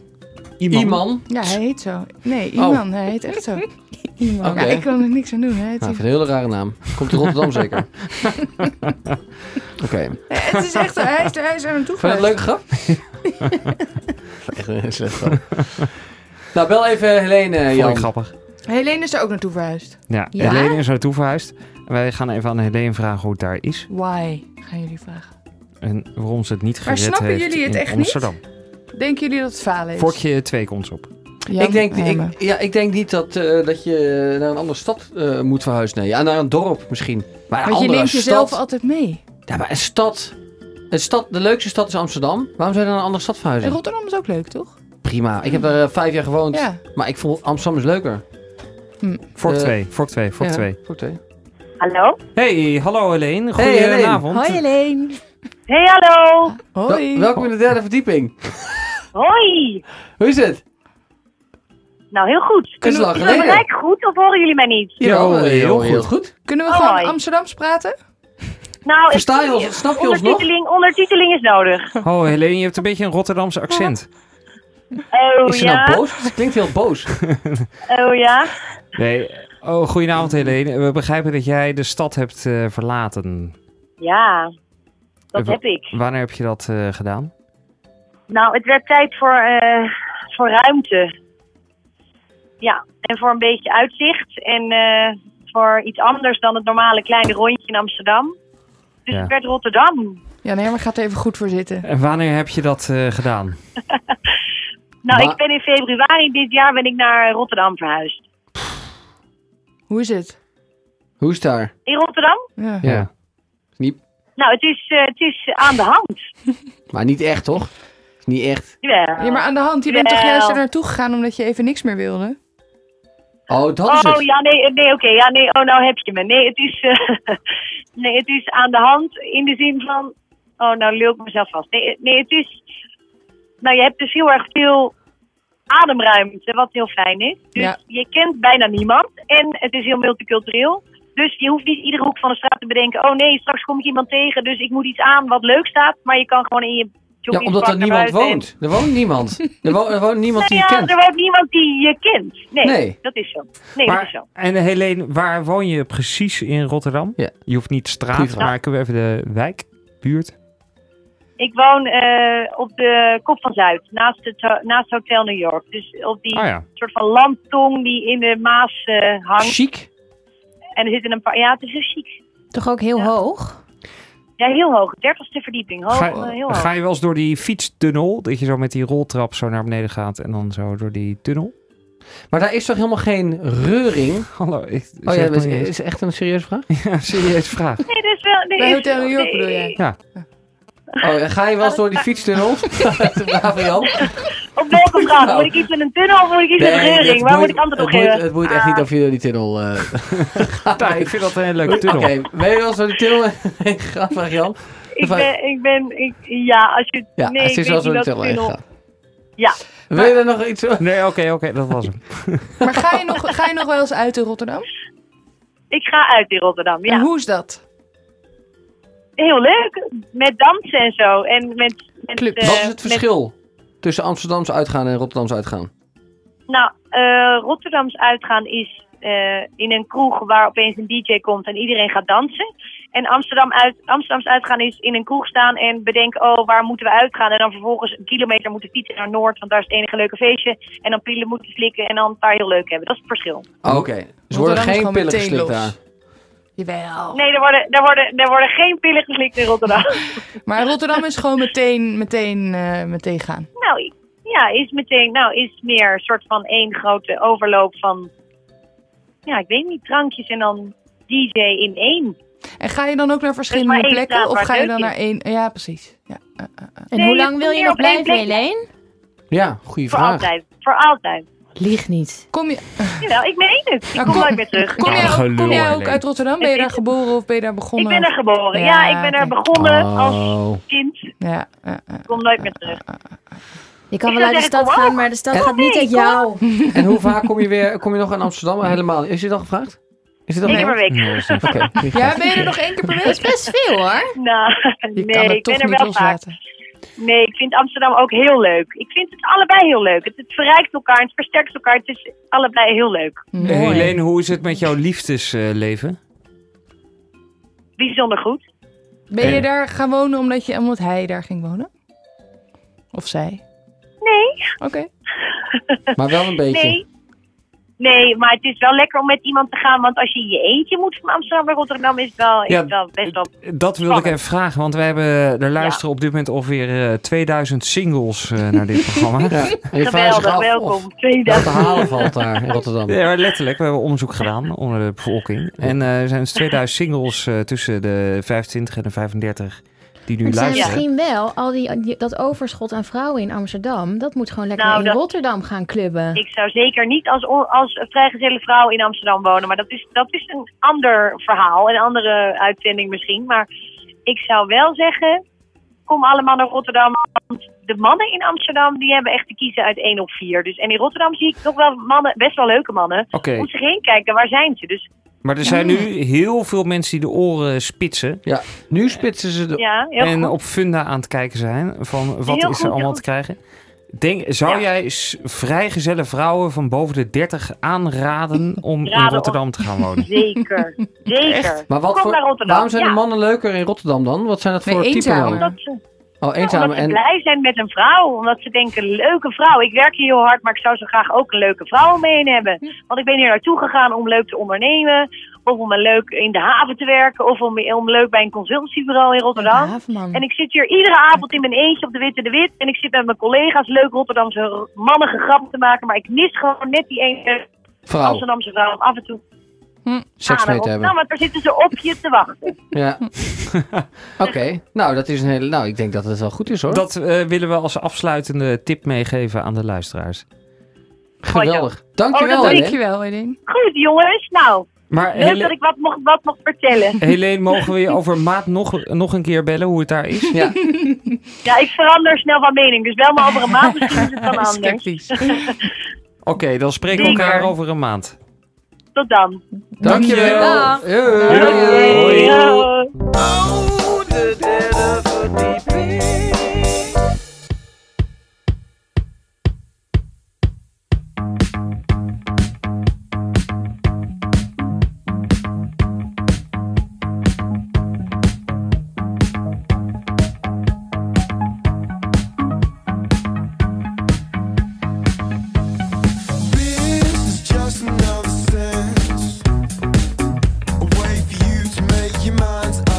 Iemand. Ja, hij heet zo. Nee, Oh. Iman. Hij heet echt zo. Iman. Oké. Ja, ik kan er niks aan doen. Hij heet Nou, ik zo. vind het een hele rare naam. Komt uit Rotterdam zeker. Oké. Nee, het is echt, hij is, hij is aan het Vond je dat een leuke grap? Echt een slecht grap. Nou, bel even Helene, eh, Vond ik Jan. grappig. Helene is er ook naartoe verhuisd. Ja, Ja? Helene is naartoe verhuisd. En wij gaan even aan Helene vragen hoe het daar is. Why, gaan jullie vragen. En waarom ze het niet Maar gered snappen heeft jullie het in echt niet? Amsterdam. Denken jullie dat het falen is? Vorkje twee ons op. Jan, ik, denk, ik, Emma. ja, ik denk niet dat, eh, dat je naar een andere stad eh, moet verhuizen. Nee, ja, naar een dorp misschien. Maar een Want je andere neemt stad. jezelf altijd mee. Ja, maar een stad, een stad. De leukste stad is Amsterdam. Waarom zou je naar een andere stad En verhuizen? Rotterdam is ook leuk, toch? Prima. Ik heb er eh, vijf jaar gewoond. Ja. Hm. Maar ik vond Amsterdam is leuker. Vork Eh, twee, vork twee, vork ja, twee. Vork twee. Hallo? Hey, hallo Helene. Hey, Helene. Goedenavond. Hoi, Helene. Hey, hallo. Wel- welkom in de derde verdieping. Hoi. Hoe is het? Nou, heel goed. Kunnen we- Is Kunnen mijn we- mic goed of horen jullie mij niet? Jawel, eh, heel heel goed. goed. Kunnen we Oh, gewoon hoi. Amsterdams praten? Nou, Versta ik- je ons? Snap je ons nog? ondertiteling, ondertiteling is nodig. Oh, Helene, je hebt een beetje een Rotterdamse accent. Oh Is ze ja. nou boos? Ze klinkt heel boos. Oh ja. Nee. Oh, goedenavond Helene. We begrijpen dat jij de stad hebt eh, verlaten. Eh, Ja. Dat Wa- heb ik. Wanneer heb je dat eh, gedaan? Nou, het werd tijd voor, eh, voor ruimte. Ja, en voor een beetje uitzicht. En eh, voor iets anders dan het normale kleine rondje in Amsterdam. Dus Ja. het werd Rotterdam. Ja, nee, maar gaat er even goed voor zitten. En wanneer heb je dat eh, gedaan? Nou, Maar- ik ben in februari dit jaar ben ik naar Rotterdam verhuisd. Hoe is het? Hoe is het daar? In Rotterdam? Ja. Ja. Nou, het is, eh, het is aan de hand. Maar niet echt, toch? Is Niet echt. Jawel. Ja, maar aan de hand, je bent toch Wel. juist er naartoe gegaan omdat je even niks meer wilde? Oh, dat is Oh het. ja, nee, eh, nee oké. ja, nee, oh, nou heb je me. Nee, het is, eh, nee, het is aan de hand in de zin van. Oh, nou lul ik mezelf vast. Nee, eh, nee, het is. Nou, je hebt dus heel erg veel ademruimte, wat heel fijn is. Dus Ja. je kent bijna niemand en het is heel multicultureel. Dus je hoeft niet iedere hoek van de straat te bedenken. Oh nee, straks kom ik iemand tegen, dus ik moet iets aan wat leuk staat. Maar je kan gewoon in je Ja, omdat er joggingspak naar niemand buiten en- woont. Er woont niemand. Er, wo- er woont niemand die Nou je ja, kent. er woont niemand die je kent. Nee, Nee. dat is zo. Nee, dat is Maar, zo. en eh, Helene, waar woon je precies in Rotterdam? Ja. Je hoeft niet straat, Buurt. maar kunnen we even de wijk, buurt? Ik woon eh, op de Kop van Zuid, naast het ho- naast Hotel New York. Dus op die Oh ja. soort van landtong die in de Maas eh, hangt. Chic. En er zitten een paar... Ja, het is heel chic. Toch ook heel hoog? Ja, heel hoog. Dertigste verdieping. Hoog, Ga, eh, heel hoog. ga je wel eens door die fietstunnel, dat je zo met die roltrap zo naar beneden gaat en dan zo door die tunnel? Maar daar is toch helemaal geen reuring? Hallo, ik, Oh ja, zeg dat maar is, niet is echt een serieuze vraag. eens. ja, serieus vraag. Nee, dat is wel... Nee, Bij is- Hotel New York nee. bedoel jij? Ja. Oh, en ga je wel eens door die fietstunnel? Bravo, Jan. Op welke vraag? Moet ik iets met een tunnel of moet ik iets met een Nou. het reuring? Waar moet boeit- ik eh, antwoord op Ah. het boeit- geven? Het boeit echt niet of je door die tunnel... eh, Nou, ik vind dat een hele leuke Oké, tunnel. ben je wel eens door die tunnel heen gegaan, vraag Jan? ik ben, ik ben, ik, ja, als je, Ja, nee, het ik is weet als niet een dat ik teller vind gaat. op- Ja, Wil je er nog iets over? Nee, oké, oké, dat was hem. Maar ga je, nog, ga je nog wel eens uit in Rotterdam? ik ga uit in Rotterdam, ja. En hoe is dat? Heel leuk, met dansen en zo. En met, met, eh, Wat is het met- verschil tussen Amsterdams uitgaan en Rotterdams uitgaan? nou, eh, Rotterdams uitgaan is eh, in een kroeg waar opeens een DJ komt en iedereen gaat dansen. En Amsterdam uit, Amsterdams uitgaan is in een kroeg staan en bedenken, oh, waar moeten we uitgaan? En dan vervolgens een kilometer moeten fietsen naar Noord, want daar is het enige leuke feestje. En dan pillen moeten flikken en dan een paar heel leuk hebben. Dat is het verschil. Oh, Oké, ze worden geen pillen geslikt daar. Nou. Jawel. Nee, er worden, er worden, er worden geen pillen geslikt in Rotterdam. Maar Rotterdam is gewoon meteen, meteen, eh, meteen gaan. nou, ja, is meteen, nou, is meer een soort van één grote overloop van, ja, ik weet niet, drankjes en dan DJ in één. En ga je dan ook naar verschillende maar één plekken? straat Of waar ga je het dan leuk naar is. één... Ja, precies. Ja. eh, eh, eh. En Nee, hoe je lang komt wil je meer nog op één blijven, plek. Helene? Ja, goede Voor vraag. altijd, voor altijd. Lieg niet. Kom je, Jawel, ik meen het. Ik Nou, kom kom- nooit meer terug. kom, Ja, jij ook, gelul, kom jij ook Helene. uit Rotterdam? Ben je daar geboren of ben je daar Ik begonnen? ben er geboren. Ja, Ja, ik ben er oké. begonnen Oh. als kind. Ja, eh, eh. Ik kom nooit meer terug. Je kan Ik wel zou uit de stad zeggen, kom gaan, ook. maar de stad Ja, gaat niet nee, uit kom jou. En hoe vaak kom je, weer, kom je nog aan Amsterdam? Helemaal. Is dit al gevraagd? Is dit al Eén keer per gevraagd? week. Oké. goeie vraag. ja, ben je er nog één keer per Dat is week? best veel hoor. Nou, Je nee, kan het ik toch ben er niet wel vaak. loslaten. Nee, ik vind Amsterdam ook heel leuk. Ik vind het allebei heel leuk. Het, het verrijkt elkaar, het versterkt elkaar. Het is allebei heel leuk. Eh, Helene, hoe is het met jouw liefdesleven? Bijzonder goed. Ben Eh. Ja. je daar gaan wonen omdat, je, omdat hij daar ging wonen? Of zij? Nee, Oké. Maar wel een beetje. nee. Nee, maar het is wel lekker om met iemand te gaan. Want als je in je eentje moet van Amsterdam naar Rotterdam, is het wel, is Ja, het wel best wel... Dat wilde ik even vragen, want wij hebben, er luisteren op dit moment ongeveer eh, 2000 singles eh, naar dit programma. Ja. En je vraagt zich Geweldig, af welkom. of dat te 2000. halen valt daar in Rotterdam. Ja, maar letterlijk. We hebben onderzoek gedaan onder de bevolking. En eh, er zijn dus 2000 singles eh, tussen de 25 en de 35 die nu Het zijn luisteren. misschien wel al die, die- dat overschot aan vrouwen in Amsterdam. Dat moet gewoon lekker Nou, in dat- Rotterdam gaan clubben. Ik zou zeker niet als, o- als vrijgezelle vrouw in Amsterdam wonen. Maar dat is, dat is een ander verhaal. Een andere uitzending misschien. Maar ik zou wel zeggen... Kom allemaal naar Rotterdam. Want de mannen in Amsterdam die hebben echt te kiezen uit één op vier. Dus, en in Rotterdam zie ik nog wel mannen, best wel leuke mannen. Oké, Moet zich heen kijken, waar zijn ze? Dus maar er zijn nu heel veel mensen die de oren spitsen. Ja, nu spitsen ze de... ja, heel en goed. op Funda aan het kijken zijn van wat Heel is er goed, allemaal heel te krijgen. Denk, zou Ja. jij s- vrijgezelle vrouwen van boven de 30 aanraden om in Raden Rotterdam te gaan wonen? Zeker, zeker. Maar wat Kom voor, naar Rotterdam. waarom zijn ja. de mannen leuker in Rotterdam dan? Wat zijn dat Nee, voor type eenzamer. mannen? Omdat ze, Oh, Ja, eenzaam omdat ze en... blij zijn met een vrouw. Omdat ze denken, leuke vrouw. Ik werk hier heel hard, maar ik zou zo graag ook een leuke vrouw mee hebben. Want ik ben hier naartoe gegaan om leuk te ondernemen. Of om een leuk in de haven te werken. Of om, om leuk bij een consultancybureau in Ja, Rotterdam. Havenman. En ik zit hier iedere avond in mijn eentje op de Witte de Wit. En ik zit met mijn collega's leuk Rotterdamse mannige grappen te maken. Maar ik mis gewoon net die ene Vrouw, Hm, Amsterdamse vrouw. om Af en toe seks aan naar mee Rotterdam. te hebben. Nou, Want daar zitten ze op je te wachten. Ja. Oké, nou dat is een hele... Nou, ik denk dat het wel goed is hoor. Dat eh, willen we als afsluitende tip meegeven aan de luisteraars. Geweldig. Oh, Oh, Dankjewel dat Helene. Dankjewel, Edin. Goed jongens, nou. Maar Leuk Hele- dat ik wat mocht, wat mocht vertellen. Helene, mogen we je over maat nog, nog een keer bellen hoe het daar is? Ja, Ja, ik verander snel van mening. Dus wel mijn andere maand, misschien is het dan anders. Skeptisch. Oké, dan spreken we Zeker. elkaar over een maand. Tot dan. dankjewel. Dag. Hey. Hoi. Doei. De derde verdieping. This is just another sense. A way for you to make your minds up.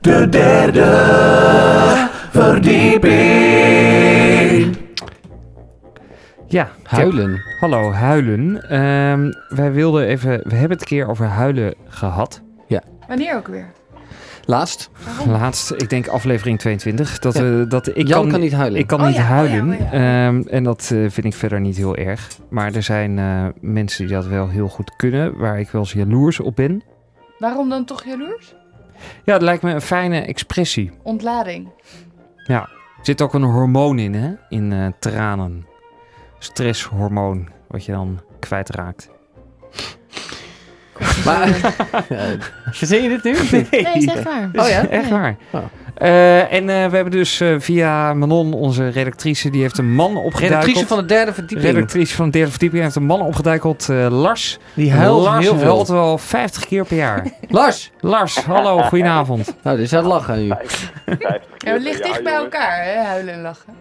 De derde verdieping. Ja. Huilen. Tip. Hallo, huilen. Ehm, wij wilden even... We hebben het een keer over huilen gehad. Ja. Wanneer ook weer? Laatst. Laatst, ik denk aflevering 22. Dat, we, dat ik Jan kan niet huilen. Ik kan Oh niet ja, oh ja, huilen. oh Ehm, en dat eh, vind ik verder niet heel erg. Maar er zijn eh, mensen die dat wel heel goed kunnen. Waar ik wel eens jaloers op ben. Waarom dan toch jaloers? Ja, het lijkt me een fijne expressie. Ontlading. Ja. Er zit ook een hormoon in, hè? In eh, tranen. Stresshormoon. Wat je dan kwijtraakt. Maar, verzin je dit nu? of niet? Nee, is echt waar. Is Oh ja? Echt Ja. waar. Eh, en eh, we hebben dus eh, via Manon, onze redactrice, die heeft een man opgeduikeld. Redactrice van de derde verdieping. Redactrice van de derde verdieping heeft een man opgeduikeld, eh, Lars. Die huilt Lars heel veel. huilt wel 50 keer per jaar. Lars! Lars, hallo, goedenavond. Nou, dit is aan het lachen nu. Ja, het ligt Ja, dicht bij jongens. elkaar, hè? Huilen en lachen.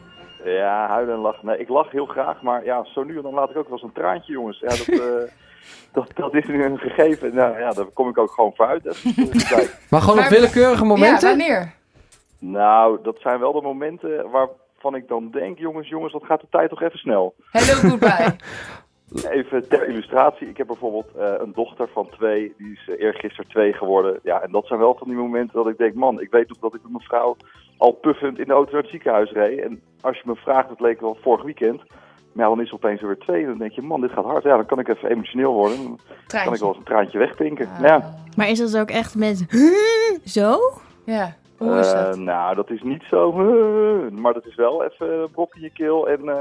Ja, huilen en lachen. Nee, ik lach heel graag, maar ja, zo nu en dan laat ik ook wel eens een traantje, jongens. Ja, dat, eh, dat, dat is nu een gegeven. Nou ja, daar kom ik ook gewoon vooruit. hè. Dus kijk, Maar gewoon op willekeurige momenten? Ja, wanneer? nou, dat zijn wel de momenten waarvan ik dan denk, jongens, jongens, dat gaat de tijd toch even snel. Hello, goodbye. Even ter illustratie. Ik heb bijvoorbeeld eh, een dochter van twee. Die is eh, eergisteren twee geworden. Ja, en dat zijn wel van die momenten dat ik denk... man, ik weet nog dat ik met mijn vrouw al puffend in de auto naar het ziekenhuis reed. En als je me vraagt, dat leek wel vorig weekend... Maar ja, dan is het opeens weer twee. En dan denk je, man, dit gaat hard. Ja, dan kan ik even emotioneel worden. Dan kan ik wel eens een traantje wegpinken. Nou Ja. Maar is dat ook echt met zo? Ja. Eh, nou, dat is niet zo... eh, maar dat is wel even een brok in je keel. En eh,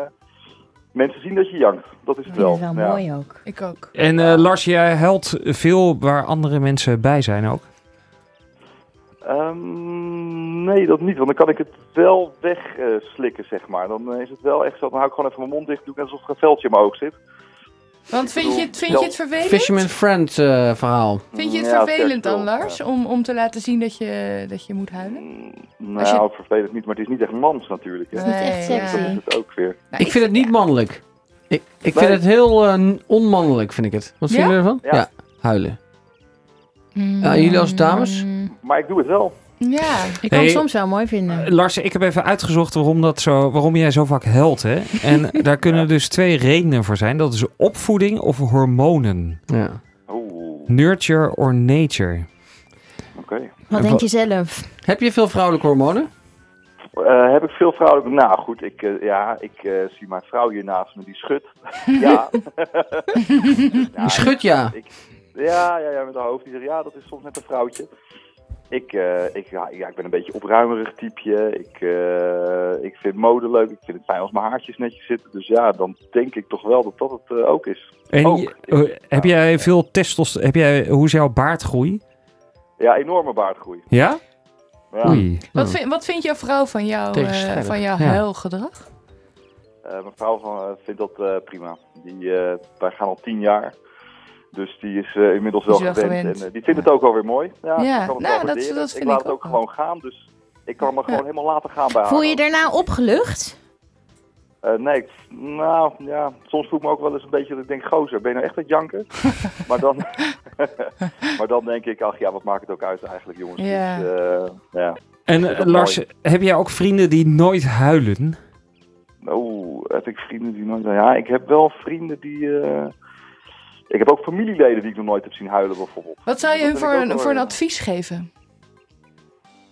mensen zien dat je jankt. Dat is het wel. Ja. ook. Ik ook. En eh, Lars, jij huilt veel waar andere mensen bij zijn ook. Ehm, nee, dat niet. Want dan kan ik het wel wegslikken, slikken, zeg maar. Dan eh, is het wel echt zo. Dan hou ik gewoon even mijn mond dicht. Doe ik net alsof er een veldje in mijn oog zit. Want vind je, het- vind je het vervelend? Fisherman Friend eh, verhaal. Vind je het vervelend dan, Lars? Om, om te laten zien dat je, dat je moet huilen? Als je- Nou, vervelend niet. Maar het is niet echt mans natuurlijk. hè. Het is niet echt Dat sexy. is het ook weer. Nou, ik vind het niet mannelijk. Ik, ik vind Nee. het heel eh, onmannelijk, vind ik het. Wat vinden Ja? jullie ervan? Ja. huilen. Hmm. Ja, jullie als dames? Maar ik doe het wel. Ja. Ik kan Hey. het soms wel mooi Eh, vinden. Eh, Lars, ik heb even uitgezocht waarom, dat zo, waarom jij zo vaak huilt. Hè? En daar kunnen dus twee redenen voor zijn. Dat is opvoeding of hormonen. Ja. Nurture or nature. Oké. Wat denk je zelf? Heb je veel vrouwelijke hormonen? Eh, heb ik veel vrouwelijk... Nou goed, ik, eh, ja, ik eh, zie mijn vrouw hier naast me. Die schudt. ja. Je schudt ja. Ik, ja, ja, ja, met haar hoofd. Die zegt, ja, dat is soms net een vrouwtje. Ik, eh, ik, ja, ja, ik ben een beetje opruimerig typeje. Ik, eh, ik vind mode leuk. Ik vind het fijn als mijn haartjes netjes zitten. Dus ja, dan denk ik toch wel dat dat het eh, ook is. En ook. je- eh, heb jij veel testos? Heb jij, hoe is jouw baardgroei? Ja, enorme baardgroei. Ja? Ja. Oei. Wat, Hmm. vind, wat vindt jouw vrouw van, jou, eh Tegenstrijdig. van jouw Ja. huilgedrag? Eh, mijn vrouw van, eh, vindt dat eh, prima. Die, eh, wij gaan al tien jaar. Dus die is eh, inmiddels wel, Is wel gewend. En eh, die vindt het ook wel weer mooi. Ja, Ja, ik kan het nou, wel dat- waarderen. dat vind ik laat ik het ook gewoon gaan. Dus ik kan me gewoon helemaal laten gaan bij haar. Voel je je daarna opgelucht? Eh, nee, ik- nou ja, soms voel ik me ook wel eens een beetje dat ik denk, gozer, ben je nou echt aan het janken? maar, dan, maar dan denk ik, ach ja, wat maakt het ook uit eigenlijk, jongens. Ja. Dus, eh, ja. En Is dat eh, Lars, mooi? heb jij ook vrienden die nooit huilen? Oh, heb ik vrienden die nooit... Ja, ik heb wel vrienden die... eh, ik heb ook familieleden die ik nog nooit heb zien huilen, bijvoorbeeld. Wat zou je Dat hun vind voor ik ook een, wel- voor een advies geven?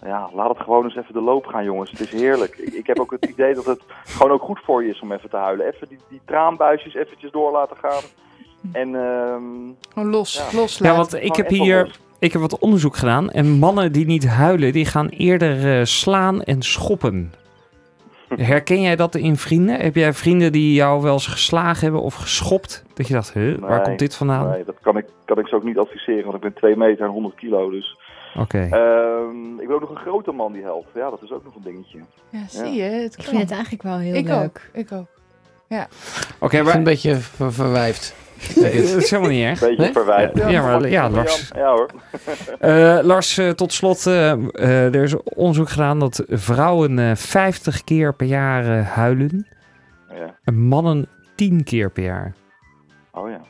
Ja, laat het gewoon eens even de loop gaan, jongens. Het is heerlijk. ik, ik heb ook het idee dat het gewoon ook goed voor je is om even te huilen. Even die, die traanbuisjes eventjes door laten gaan. En... ehm, Gewoon los, Ja. loslaten. Ja, want ik heb hier ik heb wat onderzoek gedaan. En mannen die niet huilen, die gaan eerder eh, slaan en schoppen. Herken jij dat in vrienden? Heb jij vrienden die jou wel eens geslagen hebben of geschopt? Dat je dacht, huh, waar Nee, komt dit vandaan? Nee, dat kan ik, kan ik ze ook niet adviseren, want ik ben 2 meter en 100 kilo. Dus. Oké. Ehm, ik ben ook nog een grote man die helpt. Ja, dat is ook nog een dingetje. Ja, zie je? Het Ik vind het eigenlijk wel heel ik leuk. ook, ik ook. Ja. Oké, ik vind het een beetje ver- verwijfd. Dat is helemaal niet erg. Beetje Nee? verwijfd. Ja, ja, maar ja, Lars. Ja hoor. Eh, Lars, eh, tot slot. eh, eh, er is onderzoek gedaan dat vrouwen eh, 50 keer per jaar eh, huilen. Ja. En mannen 10 keer per jaar. Oh ja.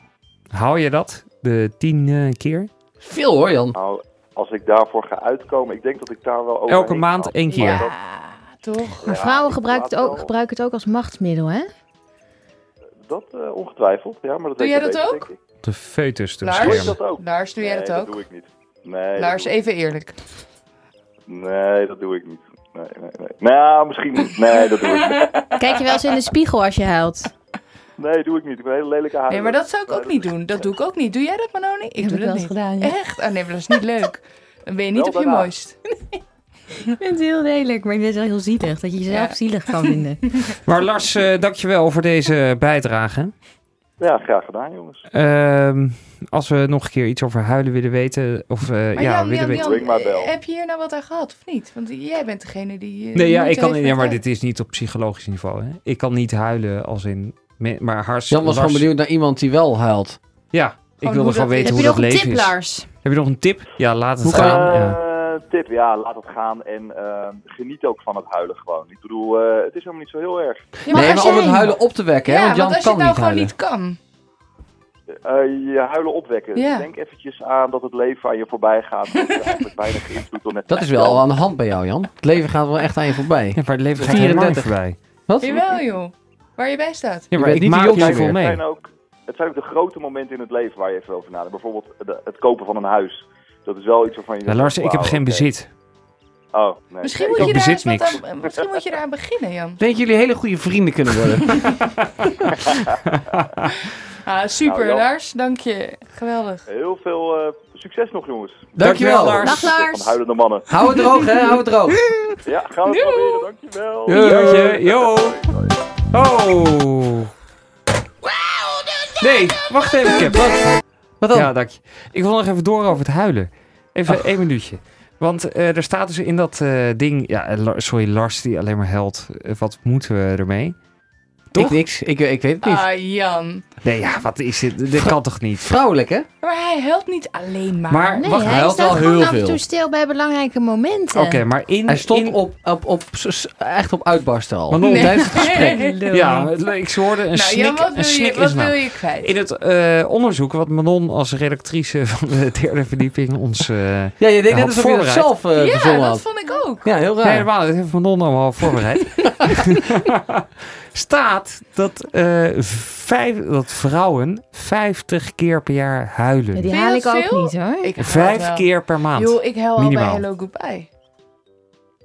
Hou je dat? De 10 eh, keer? Veel hoor, Jan. Nou, als ik daarvoor ga uitkomen, ik denk dat ik daar wel over. Elke maand één keer. toch? Maar vrouwen gebruiken het, ook, gebruiken het ook als machtsmiddel, hè? Dat eh, ongetwijfeld, ja. Maar dat Doe weet jij je dat beter, ook? denk ik. De foetus te Lars? beschermen. Lars, doe jij nee, dat ook? doe ik niet. Nee, Lars, dat doe ik- even eerlijk. nee, dat doe ik niet. Nee, nee, nee. Nou, misschien niet. Nee, dat doe ik niet. Kijk je wel eens in de spiegel als je huilt? Nee, doe ik niet. Ik ben een hele lelijke haar. Nee, maar dat zou ik ook niet doen. Dat doe ik ook niet. Doe jij dat, Manoni? Ik doe dat niet. Echt? Oh nee, maar dat is niet leuk. Dan ben je niet Wel op je daarna. mooist. Ik vind het heel lelijk, maar ik vind het wel heel zielig. Dat je jezelf Ja. zielig kan vinden. Maar Lars, eh dankjewel voor deze bijdrage. Ja, graag gedaan, jongens. Ehm, als we nog een keer iets over huilen willen weten. Of, eh, Maar ja, Jan, willen Jan, weten. Jan, eh, heb je hier nou wat aan gehad of niet? Want jij bent degene die... eh, Nee, ja, moeite ik kan, heeft ja, met maar haar. dit is niet op psychologisch niveau. Hè. Ik kan niet huilen als in. me- Maar Hars. Jan was Lars- gewoon benieuwd naar iemand die wel huilt. Ja, ik Gewoon wilde Oh, hoe dat- gewoon weten Heb hoe je dat nog een leven tip, is. Lars? Heb je nog een tip? Ja, laat het Hoe gaan. Eh, ja. Tip, ja, laat het gaan en eh, geniet ook van het huilen gewoon. Ik bedoel, eh, het is helemaal niet zo heel erg. Ja, maar nee, als maar je- om het huilen op te wekken, hè? Ja, Want Jan want als je kan het nou niet gewoon huilen. niet kan. Eh, je huilen opwekken. Ja. Denk eventjes aan dat het leven aan je voorbij gaat. Dat je eigenlijk weinig invloed op net. Dat is wel al aan de hand bij jou, Jan. Het leven gaat wel echt aan je voorbij. Ja, maar het leven gaat helemaal niet voorbij. Wat? Jawel, joh. Waar je bij staat. Ja, maar bent ik niet de maak jongste hiervoor meer. mee. Het zijn, ook, het zijn ook de grote momenten in het leven waar je even over nadenkt. Bijvoorbeeld de- het kopen van een huis. Dat is wel iets waarvan je... Ja, zegt, Lars, ik heb wauw, geen oké. bezit. Oh, nee. Misschien Ik moet, ook je daar bezit eens wat niks. aan, misschien moet je daar aan beginnen, Jan. Denk jullie hele goede vrienden kunnen worden? Ah, super, Nou, Jan. Lars. Dank je. Geweldig. Heel veel eh, succes nog, jongens. Dankjewel, Lars. Dag, Lars. Van huilende mannen. Hou het droog, hè? Hou het droog. Ja, gaan we het proberen. Dankjewel. Jantje, Eh, yo. Oh. Nee, wacht even, Cap. Wat, wat dan? Ja, dank je. Ik wil nog even door over het huilen. Even één minuutje. Want eh, er staat dus in dat eh, ding... Ja, eh, La- sorry, Lars die alleen maar helpt. Eh, wat moeten we ermee? Toch? Ik niks. Ik, ik weet het niet. Ah, Jan. Nee, ja, wat is dit? Dit kan toch niet? Vrouwelijk, hè? Maar hij helpt niet alleen maar. Maar Nee, wacht, hij hij helpt staat wel gewoon heel af en veel. toe stil bij belangrijke momenten. Oké, maar in... Hij stond in- op, op, op, s- echt op uitbarsten al. Manon, Tijdens het gesprek. Ja, ik hoorde een Nou, Jan, snik. wat wil een je- snik wat is nou. wil je kwijt? In het eh, onderzoek wat Manon als redactrice van de derde verdieping ons eh Ja, je deed had net alsof je dat voorbereid. zelf eh ja, verzonnen dat had. vond ik Oh, ook. Ja, heel raar. Nee, helemaal. Dat heeft Manon allemaal voorbereid. Staat dat, eh, vijf, dat vrouwen 50 keer per jaar huilen. Ja, die haal ik Veel, ook veel? niet hoor. Ik huil Vijf wel. keer per maand. Joh, ik huil al bij Minimaal. Hello Goodbye.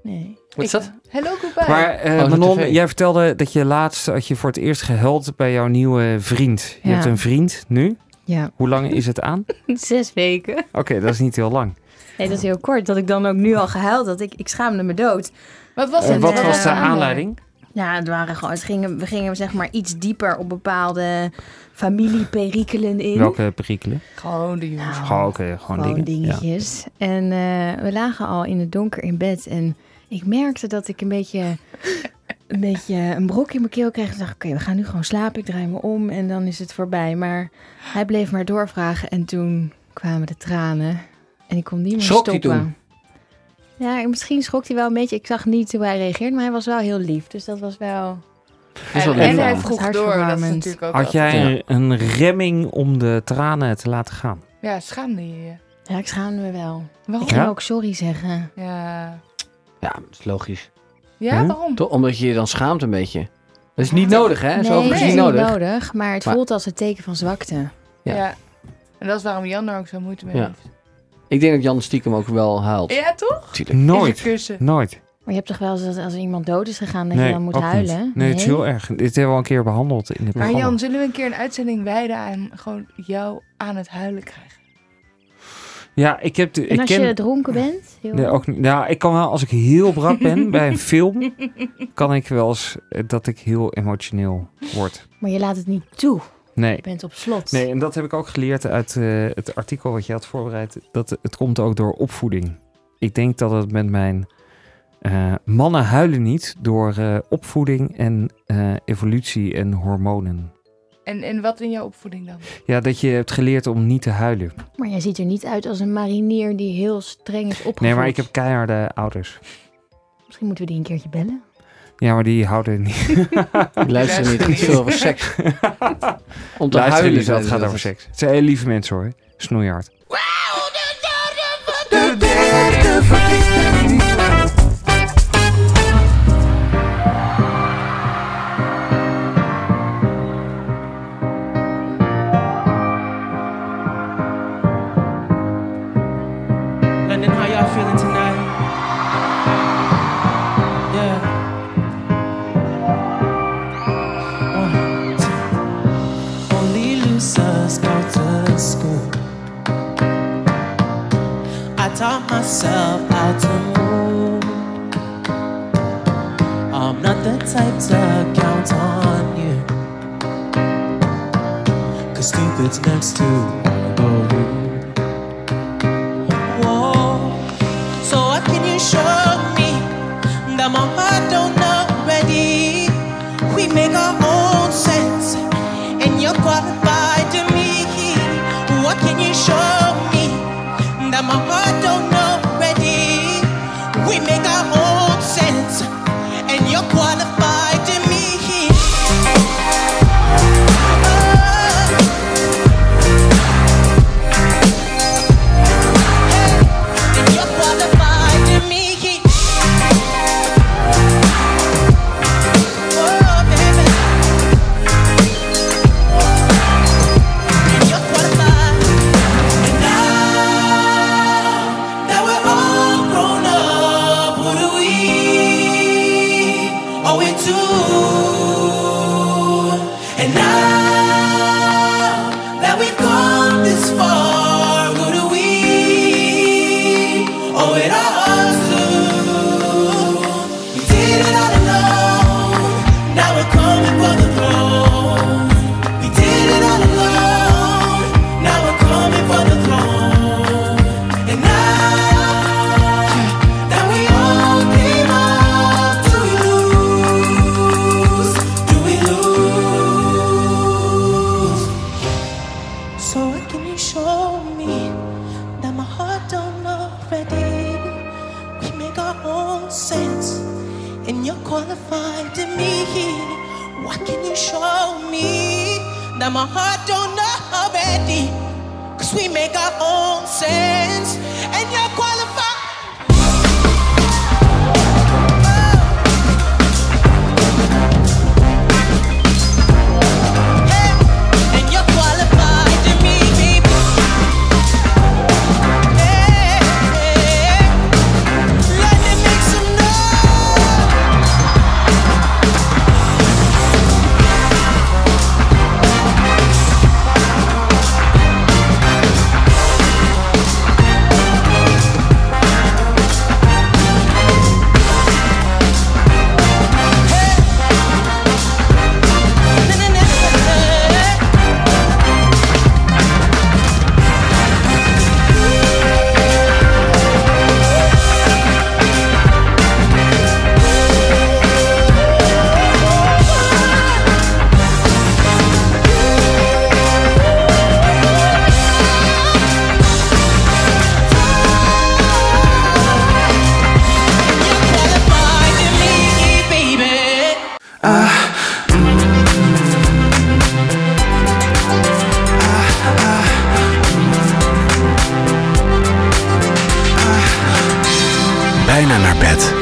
Nee. Wat is dat? Hello Goodbye. Maar eh, Oh, dat is Manon, tv. jij vertelde dat je laatst had je voor het eerst gehuild bij jouw nieuwe vriend. Je Ja. hebt een vriend nu. Ja, Hoe lang is het aan? zes weken. Oké, dat is niet heel lang. Nee, dat is heel kort. Dat ik dan ook nu al gehuild had. Ik, ik schaamde me dood. Wat was Eh, het? wat Eh, was de aanleiding? Ja, het waren gewoon, het gingen, we gingen zeg maar iets dieper op bepaalde familieperikelen in. Nou, Welke perikelen? Gewoon de jongens. Gewoon, oké, gewoon, Gewoon dingen. Ja. dingetjes. En eh, we lagen al in het donker in bed. En ik merkte dat ik een beetje een, beetje een brok in mijn keel kreeg. Ik dacht, oké, we gaan nu gewoon slapen. Ik draai me om en dan is het voorbij. Maar hij bleef maar doorvragen. En toen kwamen de tranen. En ik kon niet meer Schrok hij stoppen. toen? Ja, misschien schrok hij wel een beetje. Ik zag niet hoe hij reageerde, maar hij was wel heel lief. Dus dat was wel... is wel En, leuk en wel. hij vroeg door. Dat is Hartverwarmend. natuurlijk ook Had altijd- jij een, een remming om de tranen te laten gaan? Ja, schaamde je je. Ja, ik schaamde me wel. Waarom? Ik ging Ja? ook sorry zeggen. Ja. Ja, dat is logisch. Ja, waarom? Toch, omdat je je dan schaamt een beetje. Dat is niet nodig, hè? Nee, Zo dat is is niet nodig. maar het Maar- voelt als een teken van zwakte. Ja. Ja. En dat is waarom Jan er ook zo moeite mee Ja. heeft. Ik denk dat Jan stiekem ook wel huilt. Ja, toch? Tuurlijk. In zijn kussen. Nooit. Maar je hebt toch wel eens dat als iemand dood is gegaan, dat Nee, je dan moet ook niet. huilen? Nee, het is heel erg. Dit hebben we al een keer behandeld in het Maar programma. Jan, zullen we een keer een uitzending wijden aan gewoon jou aan het huilen krijgen? Ja, ik heb de, En ik als ken, je dronken bent? heel- Nee, ook niet. Nou, ik kan wel, als ik heel brak ben bij een film, kan ik wel eens eh, dat ik heel emotioneel word. Maar je laat het niet toe. Nee. Je bent op slot. Nee, en dat heb ik ook geleerd uit eh, het artikel wat je had voorbereid. Dat het komt ook door opvoeding. Ik denk dat het met mijn eh, mannen huilen niet door eh, opvoeding en eh, evolutie en hormonen. En, en wat in jouw opvoeding dan? Ja, dat je hebt geleerd om niet te huilen. Maar jij ziet er niet uit als een marinier die heel streng is opgevoed. Nee, maar ik heb keiharde ouders. Misschien moeten we die een keertje bellen. Ja, maar die houden niet. Die luisteren niet. Het gaat veel over seks. Om te Luisteren huilen niet, zijn dat ze gaat dat. over seks. Het zijn hele lieve mensen hoor. Snoeihard. Doe, doe, I'm feeling tonight. Yeah. One, two. Only losers go to school. I taught myself how to move. I'm not the type to count on you. Cause stupid's next to the room. Whoa. So what can you show me that my heart don't already? We make our own sense, and you're qualified to me. What can you show me that my heart don't already? We make our own sense, and you're qualified to me. Oh, Now we're all grown up. Who do we owe it to? And now that we've come this far, who do we owe it all to? We did it all alone. Now we're coming for the throne. We did it all alone. Now we're coming for the throne. And now that we all came up, do we lose? Do we lose? So what can you show me that my heart don't already? We make our own sense, and you're qualified to me. What can you show me that my heart don't already? Cause we make our own sense, and you're qualified. And you're qualified to me, baby. Baby. Bijna naar bed.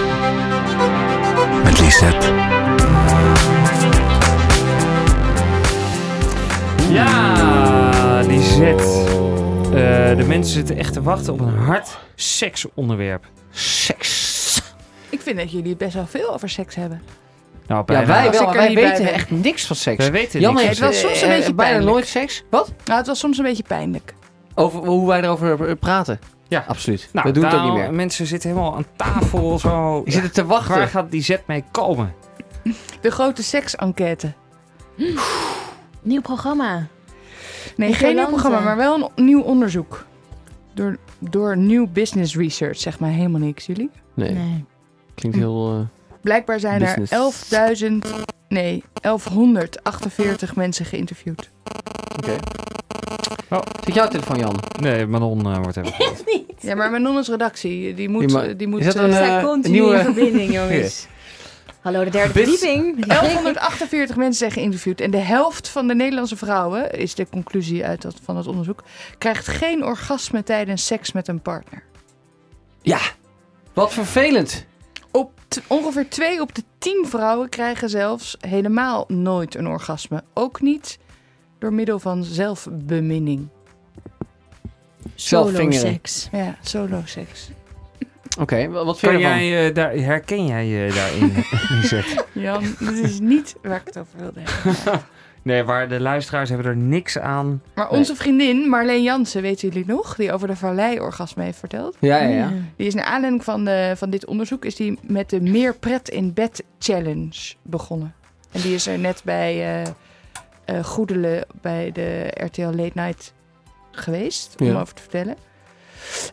Met Lisette. Ja, Ah, die zet. Eh, de mensen zitten echt te wachten op een hard seksonderwerp. Seks. Ik vind dat jullie best wel veel over seks hebben. Nou, Ja, bijna. wij wel, Als ik maar er wij niet bij weten ben. echt niks van seks. Wij weten Jan niks heeft van Oh, Het was soms een eh, beetje bijna pijnlijk. nooit seks. Wat? Nou, het was soms een beetje pijnlijk. Over hoe wij erover eh, praten. Ja, absoluut. Nou, we doen het ook daar- niet meer. Mensen zitten helemaal aan tafel zo. Die zitten te wachten. Waar gaat die zet mee komen? De grote seks-enquête. Nieuw programma. Nee, Met geen nieuw Jolante. programma, maar wel een nieuw onderzoek. Door, door nieuw business research, zeg maar helemaal niks, jullie. Nee. Klinkt heel... eh, Blijkbaar zijn Business. er 11.000, nee, 1148 mensen geïnterviewd. Oké. Zit jouw telefoon, Jan? Oh. Nee, Manon eh, wordt even. Ja, maar Manon is redactie. Die moet... Die ma- Die moet Is dat eh, een, We eh, zijn continu nieuwe- in verbinding, jongens. Hallo, de derde Bus- verdieping. 1148 mensen zijn geïnterviewd. En de helft van de Nederlandse vrouwen, is de conclusie uit dat, van het onderzoek, krijgt geen orgasme tijdens seks met een partner. Ja. Wat vervelend. Op t- ongeveer 2 op de 10 vrouwen krijgen zelfs helemaal nooit een orgasme. Ook niet door middel van zelfbeminning. Zelfvingeren. Ja, solo seks. Oké, wa- wat vind Kan je ervan? jij, eh, daar, herken jij je daarin, eh, Lisette? Jan, dit is niet waar ik het over wilde hebben. Nee, waar de luisteraars hebben er niks aan. Maar onze vriendin Marleen Jansen, weten jullie nog? Die over de vallei-orgasme heeft verteld. Mm. Ja, ja, ja. Die is naar aanleiding van, de, van dit onderzoek... is die met de Meer Pret in Bed Challenge begonnen. En die is er net bij eh eh, Goedelen bij de RTL Late Night geweest... om Ja. over te vertellen.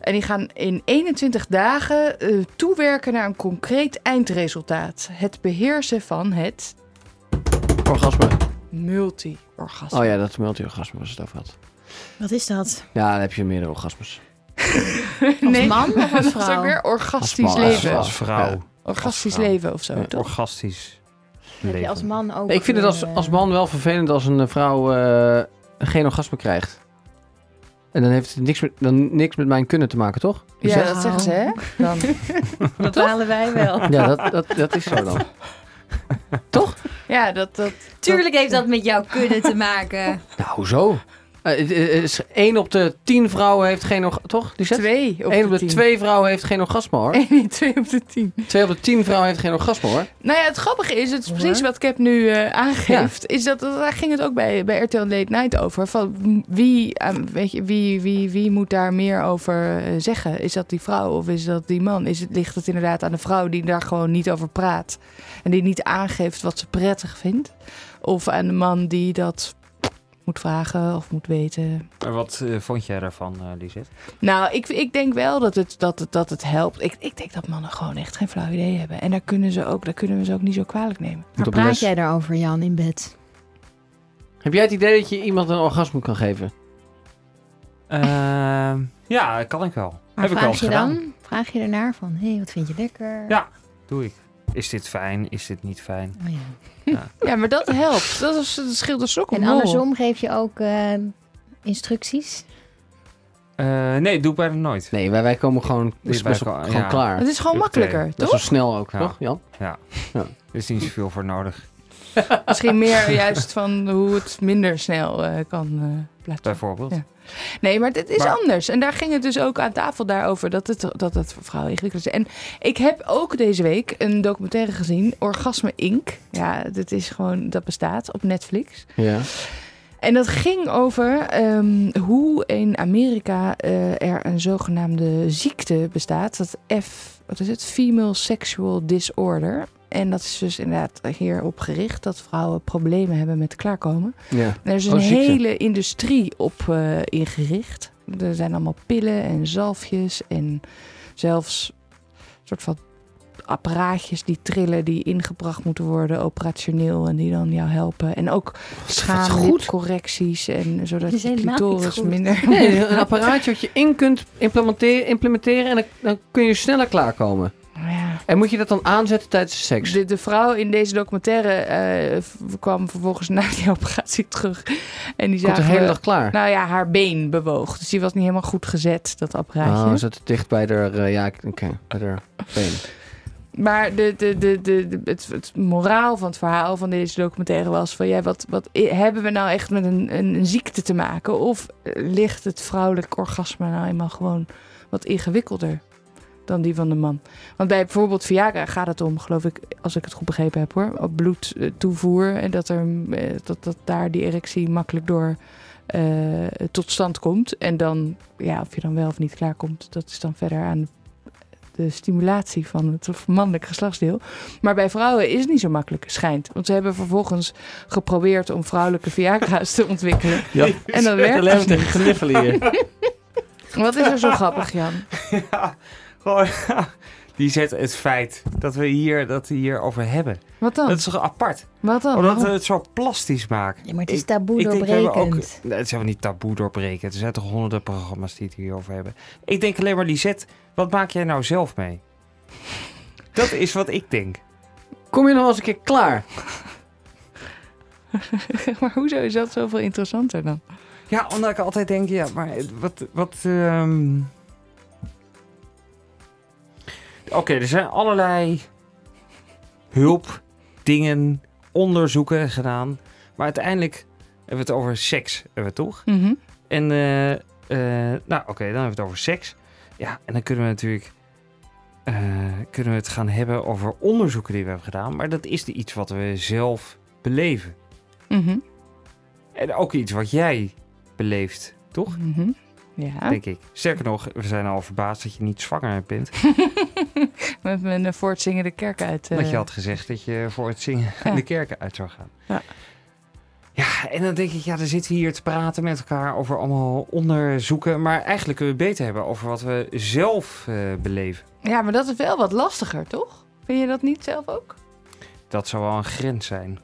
En die gaan in 21 dagen eh, toewerken naar een concreet eindresultaat. Het beheersen van het Orgasme. multi-orgasme. Oh ja, dat is multi-orgasme was het over had. Wat is dat? Ja, dan heb je meerdere orgasmes. nee. man of als Dat is ook vrouw? weer orgastisch Als man, als leven. Als vrouw. Ja. Orgastisch Als vrouw. leven of zo, Ja, toch? Orgastisch leven. Als man ook. Ik vind het als, eh, als man wel vervelend als een eh, vrouw eh, geen orgasme krijgt. En dan heeft het niks met, dan niks met mijn kunnen te maken, toch? Ja, dat zeggen ze, hè? Dan. Dat halen wij wel. Ja, dat, dat, dat is zo dan. Ja, dat... dat Tuurlijk heeft dat met jouw kunnen te maken. Nou, hoezo? Eh, Eén op de tien vrouwen heeft geen orgasme, toch? Die twee op Eén op de twee vrouwen heeft geen orgasme, hoor. 1, 2 op de 10. Twee op de tien vrouwen heeft geen orgasme, hoor. Nou ja, het grappige is, het is precies wat Cap nu eh, aangeeft, is dat daar ging het ook bij, bij RTL Late Night over. Van wie, eh, weet je, wie, wie, wie moet daar meer over eh, zeggen? Is dat die vrouw of is dat die man? Is het, ligt het inderdaad aan de vrouw die daar gewoon niet over praat en die niet aangeeft wat ze prettig vindt? Of aan de man die dat moet vragen of moet weten? Maar wat eh, vond jij daarvan, eh Lisette? Nou, ik, ik denk wel dat het, dat het, dat het helpt. Ik, ik denk dat mannen gewoon echt geen flauw idee hebben. En daar kunnen, ze ook, daar kunnen we ze ook niet zo kwalijk nemen. Maar praat jij daarover, Jan, in bed? Heb jij het idee dat je iemand een orgasme kan geven? ja, Ah, kan ik wel. Maar Heb ik wel vraag eens je gedaan. dan? Vraag je ernaar van, hé, hey, wat vind je lekker? Ja. Doe ik. Is dit fijn? Is dit niet fijn? Oh ja. Ja, maar dat helpt. Dat, is, dat scheelt een sok om En hol. andersom geef je ook eh, ehm, instructies? Eh, nee, doe ik bijna nooit. Nee, wij, wij komen gewoon, Dit is wij best wel- ko- gewoon ja. klaar. Het is gewoon Hup, makkelijker, thee. Dat is zo snel ook, Ja. toch, Jan? Ja. Er is niet zoveel voor nodig, Misschien meer juist van hoe het minder snel eh, kan eh, plaatsvinden. bijvoorbeeld. Ja. Nee, maar het is Maar- anders. En daar ging het dus ook aan tafel daarover dat het, dat het voor vrouwen ingewikkeld is. En ik heb ook deze week een documentaire gezien, Orgasme Inc. Ja, dat is gewoon, dat bestaat op Netflix. Ja. En dat ging over ehm, hoe in Amerika eh, er een zogenaamde ziekte bestaat. Dat F, wat is het? Female Sexual Disorder. En dat is dus inderdaad hierop gericht dat vrouwen problemen hebben met klaarkomen. Ja. En er is dus Oh, een ziekte. hele industrie op eh, ingericht. Er zijn allemaal pillen en zalfjes en zelfs soort van apparaatjes die trillen, die ingebracht moeten worden operationeel en die dan jou helpen. En ook schaamlipcorrecties en zodat Dit is je helemaal niet clitoris goed. minder... Nee, een apparaatje wat je in kunt implementeren, implementeren en dan, dan kun je sneller klaarkomen. Oh Ja. En moet je dat dan aanzetten tijdens de seks? De, de vrouw in deze documentaire eh, v- kwam vervolgens na die operatie terug. En die Komt de zagen hele we- dag klaar? Nou ja, haar been bewoog. Dus die was niet helemaal goed gezet, dat apparaatje. Oh, is dat dicht bij de, eh, ja, ik- oké, bij de been. Maar de, de, de, de, de- het, het moraal van het verhaal van deze documentaire was van... Ja, wat, wat i- hebben we nou echt met een, een, een ziekte te maken? Of eh, ligt het vrouwelijk orgasme nou eenmaal gewoon wat ingewikkelder dan die van de man? Want bij bijvoorbeeld Viagra gaat het om, geloof ik, als ik het goed begrepen heb hoor... op bloedtoevoer en dat, er, eh, dat, dat daar die erectie makkelijk door eh, tot stand komt. En dan, ja, of je dan wel of niet klaarkomt, dat is dan verder aan de stimulatie van het mannelijk geslachtsdeel. Maar bij vrouwen is het niet zo makkelijk, schijnt. Want ze hebben vervolgens geprobeerd om vrouwelijke Viagra's te ontwikkelen. Ja. En dat werkt dus niet. gniffelen hier. Wat is er zo grappig, Jan? Gewoon, die zet het feit dat we hier, dat we hier over hebben. Wat dan? Dat is toch apart? Wat dan? Omdat we Waarom? het zo plastisch maakt. Ja, maar het is Ik- taboe ik denk, we hebben ook- doorbrekend. Nee, het zijn we niet taboe doorbreken. Er zijn toch honderden programma's die het hierover hebben. Ik denk alleen maar, Lisette, wat maak jij nou zelf mee? Dat is wat ik denk. Kom je nog wel eens een keer klaar? maar hoezo is dat zoveel interessanter dan? Ja, omdat ik altijd denk, ja, maar wat... wat ehm, Oké, er zijn allerlei hulp, dingen, onderzoeken gedaan. Maar uiteindelijk hebben we het over seks, hebben we het toch? Mhm. En, eh, eh, nou oké, dan hebben we het over seks. Ja, en dan kunnen we natuurlijk eh, kunnen we het gaan hebben over onderzoeken die we hebben gedaan. Maar dat is iets wat we zelf beleven. Mhm. En ook iets wat jij beleeft, toch? Mhm. Ja. Denk ik. Sterker nog, we zijn al verbaasd dat je niet zwanger bent. Met mijn eh, voor het zingen de kerk uit. eh, Dat je had gezegd dat je voor het zingen de kerken uit zou gaan. Ja. ja, en dan denk ik, ja, dan zitten we hier te praten met elkaar over allemaal onderzoeken. Maar eigenlijk kunnen we het beter hebben over wat we zelf eh, beleven. Ja, maar dat is wel wat lastiger, toch? Vind je dat niet zelf ook? Dat zou wel een grens zijn.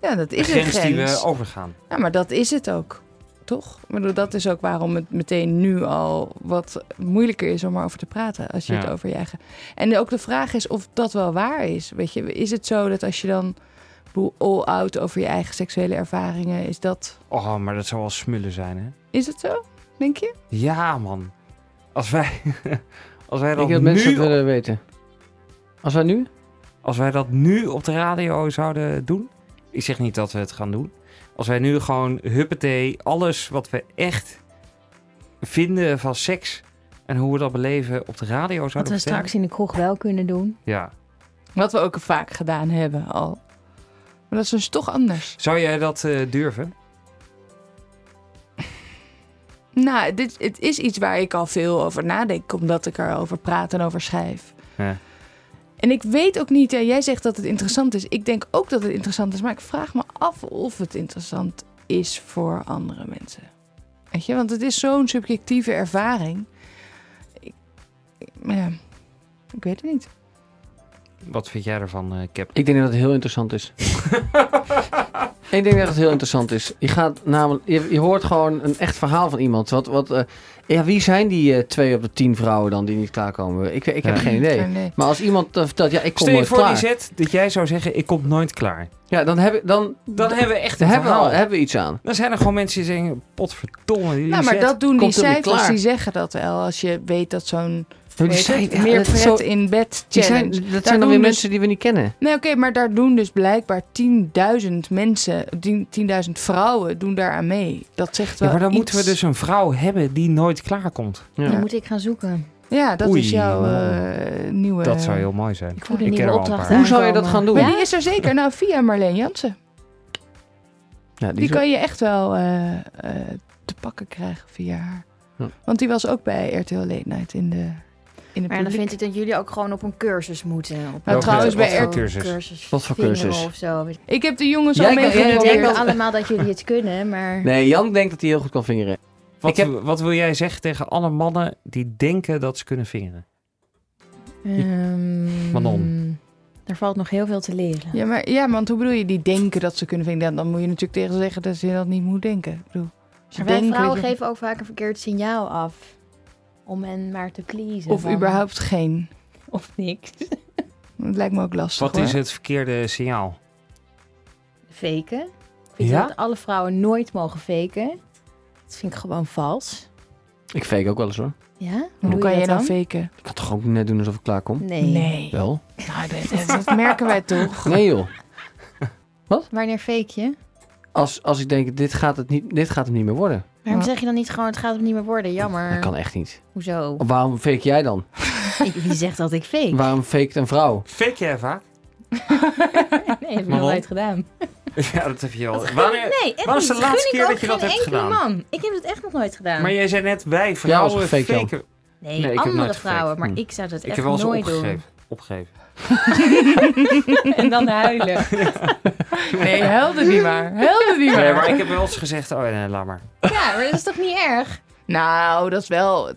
Ja, dat is een een grens. die we overgaan. Ja, maar dat is het ook, toch? Ik bedoel, dat is ook waarom het meteen nu al wat moeilijker is om erover te praten. Als je Ja. het over je eigen... En ook de vraag is of dat wel waar is. Weet je, is het zo dat als je dan ik bedoel, all out over je eigen seksuele ervaringen, is dat... Oh, maar dat zou wel smullen zijn, hè? Is het zo, denk je? Ja, man. Als wij, als wij Ik dat denk dat nu... mensen dat willen weten. Als wij nu? Als wij dat nu op de radio zouden doen. Ik zeg niet dat we het gaan doen. Als wij nu gewoon huppatee, alles wat we echt vinden van seks en hoe we dat beleven op de radio Wat zouden we straks in de kroeg wel kunnen doen. Ja. Wat we ook vaak gedaan hebben al. Maar dat is dus toch anders. Zou jij dat eh, durven? Nou, dit, het is iets waar ik al veel over nadenk, omdat ik erover praat en over schrijf. Ja. En ik weet ook niet, hè, jij zegt dat het interessant is. Ik denk ook dat het interessant is, maar ik vraag me af of het interessant is voor andere mensen. Weet je, want het is zo'n subjectieve ervaring. Ik, ik- ja, ik weet het niet. Wat vind jij ervan, eh, Cap? Ik denk dat het heel interessant is. ik denk dat het heel interessant is. Je, gaat namelijk, je, je hoort gewoon een echt verhaal van iemand. Wat, wat, eh, ja, wie zijn die eh, twee op de tien vrouwen dan die niet klaarkomen? Ik, ik heb Ja. geen idee. Geen idee. Maar als iemand dan vertelt, ja, ik kom Stel je nooit voor, klaar. Lisette, dat jij zou zeggen, ik kom nooit klaar. Ja, dan, heb, ik- dan, Dan hebben we echt een dan hebben we, al- verhaal. hebben we iets aan. Dan zijn er gewoon mensen die zeggen, potverdomme, nou, maar Lisette dat doen die komt helemaal niet cijfers, klaar. die zeggen dat wel. Als je weet dat zo'n die weet zijn- het, ja, meer dat is pret zo- in bed Die challenge. zijn, dat Daar zijn dan doen weer dus- mensen die we niet kennen. Nee, oké, maar daar doen dus blijkbaar 10.000 mensen, 10.000 vrouwen doen daaraan mee. Dat zegt wel Ja, maar dan iets. moeten we dus een vrouw hebben die nooit klaar komt. Dan moet ik gaan zoeken. Ja, dat Oei, is jouw man. eh, nieuwe... Dat zou heel mooi zijn. voel een nieuwe ken er wel opdracht een paar. Hoe zou je dat gaan doen? Maar die is er zeker. Nou, via Marleen Jansen. Ja, Die kan je echt wel eh, eh, te pakken krijgen via haar. Ja. Want die was ook bij RTL Late Night in de... In de Maar dan vind ik dat jullie ook gewoon op een cursus moeten. Op Nou, een trouwens, cursus, bij op R- een cursus? Wat voor vingeren cursus? Of zo. weet ik. Ik heb de jongens Jij al kan- jij meegenomen. Jullie probeert- denken allemaal dat jullie het kunnen, maar... Nee, Jan denkt dat hij heel goed kan vingeren. Wat, wat wil jij zeggen tegen alle mannen die denken dat ze kunnen vingeren? ehm, Manon. Er valt nog heel veel te leren. Ja, maar, ja, want hoe bedoel je? Die denken dat ze kunnen vinden. Dan moet je natuurlijk tegen ze zeggen dat ze dat niet moet denken. Ik bedoel, ze Maar wij denken vrouwen dat je- geven ook vaak een verkeerd signaal af. Om hen maar te pleasen. Of van- überhaupt geen. Of niks. Dat lijkt me ook lastig Wat is hoor. het verkeerde signaal? Faken. Ik vind Ja? dat alle vrouwen nooit mogen faken. Dat vind ik gewoon vals. Ik fake ook wel eens hoor. Ja? Hoe, Hoe doe kan je jij dat nou dan? faken? Ik kan toch ook net doen alsof ik klaar kom? Nee. Nee. Wel? Nou, dat, dat- dat merken wij toch. Nee joh. Wanneer fake je? Als, als ik denk, dit gaat, het niet, dit gaat hem niet meer worden. Waarom zeg je dan niet gewoon, het gaat hem niet meer worden? Jammer. Dat kan echt niet. Hoezo? Waarom fake jij dan? Ik- Wie zegt dat ik fake? Waarom fake een vrouw? Fake jij vaak? Nee, heb ik nog Waarom? nooit gedaan. Ja, dat heb je al. Wanneer, nee, echt wanneer is de niet. Gun laatste ik keer ook dat je dat geen hebt enkele gedaan? man. Ik heb het echt nog nooit gedaan. Maar jij zei net, wij Voor jou was vrouwen het fake, Jan. faken. Nee, Nee, ik heb andere nooit vrouwen, gefaked. maar Hm. ik zou dat Ik echt heb wel eens nooit opgegeven. opgegeven. doen. en dan huilen. Nee, helder niet maar. Helder niet Nee, maar. maar ik heb wel eens gezegd, oh nee, laat maar. Ja, maar dat is toch niet erg? Nou, dat is wel...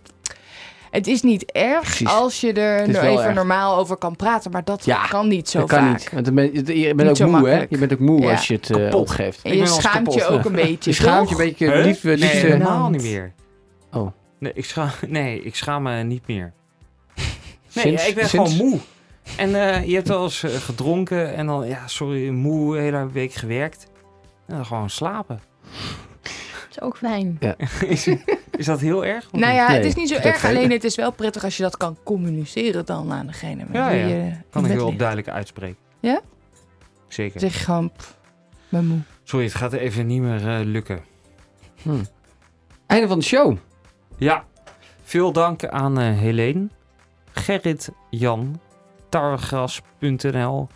Het is niet erg Precies. als je er Het is nou wel even erg. normaal over kan praten, maar dat Ja, kan niet zo dat kan vaak. niet. Want dan ben, je- je bent Niet zo ook moe, hè? makkelijk. Je bent ook moe Ja. als je het eh, Kapot. opgeeft. En je Ik ben wel eens schaamt je kapot. ook een beetje. Je schaamt je een beetje Huh? liefde. Nee, liefde. helemaal niet meer. Oh. Nee, ik schaam, nee, ik schaam me niet meer. Nee, Sinds- ik ben sinds- gewoon moe. En eh, je hebt wel eens eh, gedronken en dan, ja, sorry, moe, de hele week gewerkt. En dan gewoon slapen. Dat is ook fijn. is, is dat heel erg? Of Nou niet? ja, Nee, het is niet zo dat kan erg. ik. Alleen het is wel prettig als je dat kan communiceren dan aan degene met Ja, wie ja. je in Kan ik bed heel ligt. duidelijk uitspreken. Ja? Zeker. Zeg gewoon, pff, ben moe. Sorry, het gaat even niet meer eh, lukken. Hmm. Einde van de show. Ja, veel dank aan eh Helene gerritjantarwegas.nl.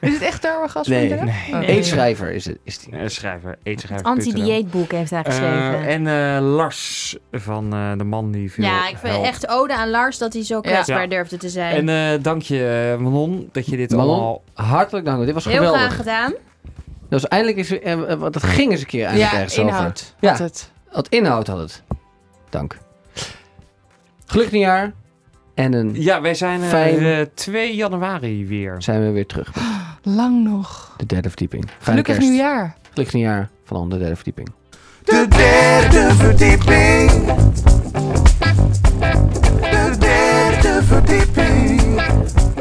Is het echt tarwegas? Nee, nee. Eetschrijver is het. Is die. schrijver, eetschrijver. Anti-dieetboek heeft hij geschreven. Eh, en eh, Lars van eh, de man die veel ja, ik vind helpt. echt ode aan Lars dat hij zo kwetsbaar Ja. durfde te zijn. En eh, dank je, eh, Manon, dat je dit Manon, allemaal... hartelijk dank. Dit was Heel geweldig. graag gedaan. Dat was eindelijk eens, eh, eh, want dat ging eens een keer eigenlijk Ja, ergens inhoud over. had het. Wat inhoud had het. Dank. Gelukkig nieuwjaar. En een Ja, wij zijn eh, Fijn. eh, 2 januari weer. zijn we weer terug met Lang nog. de derde verdieping. Fijne Gelukkig kerst. nieuwjaar. Gelukkig nieuwjaar van de derde verdieping. De derde verdieping. De derde verdieping.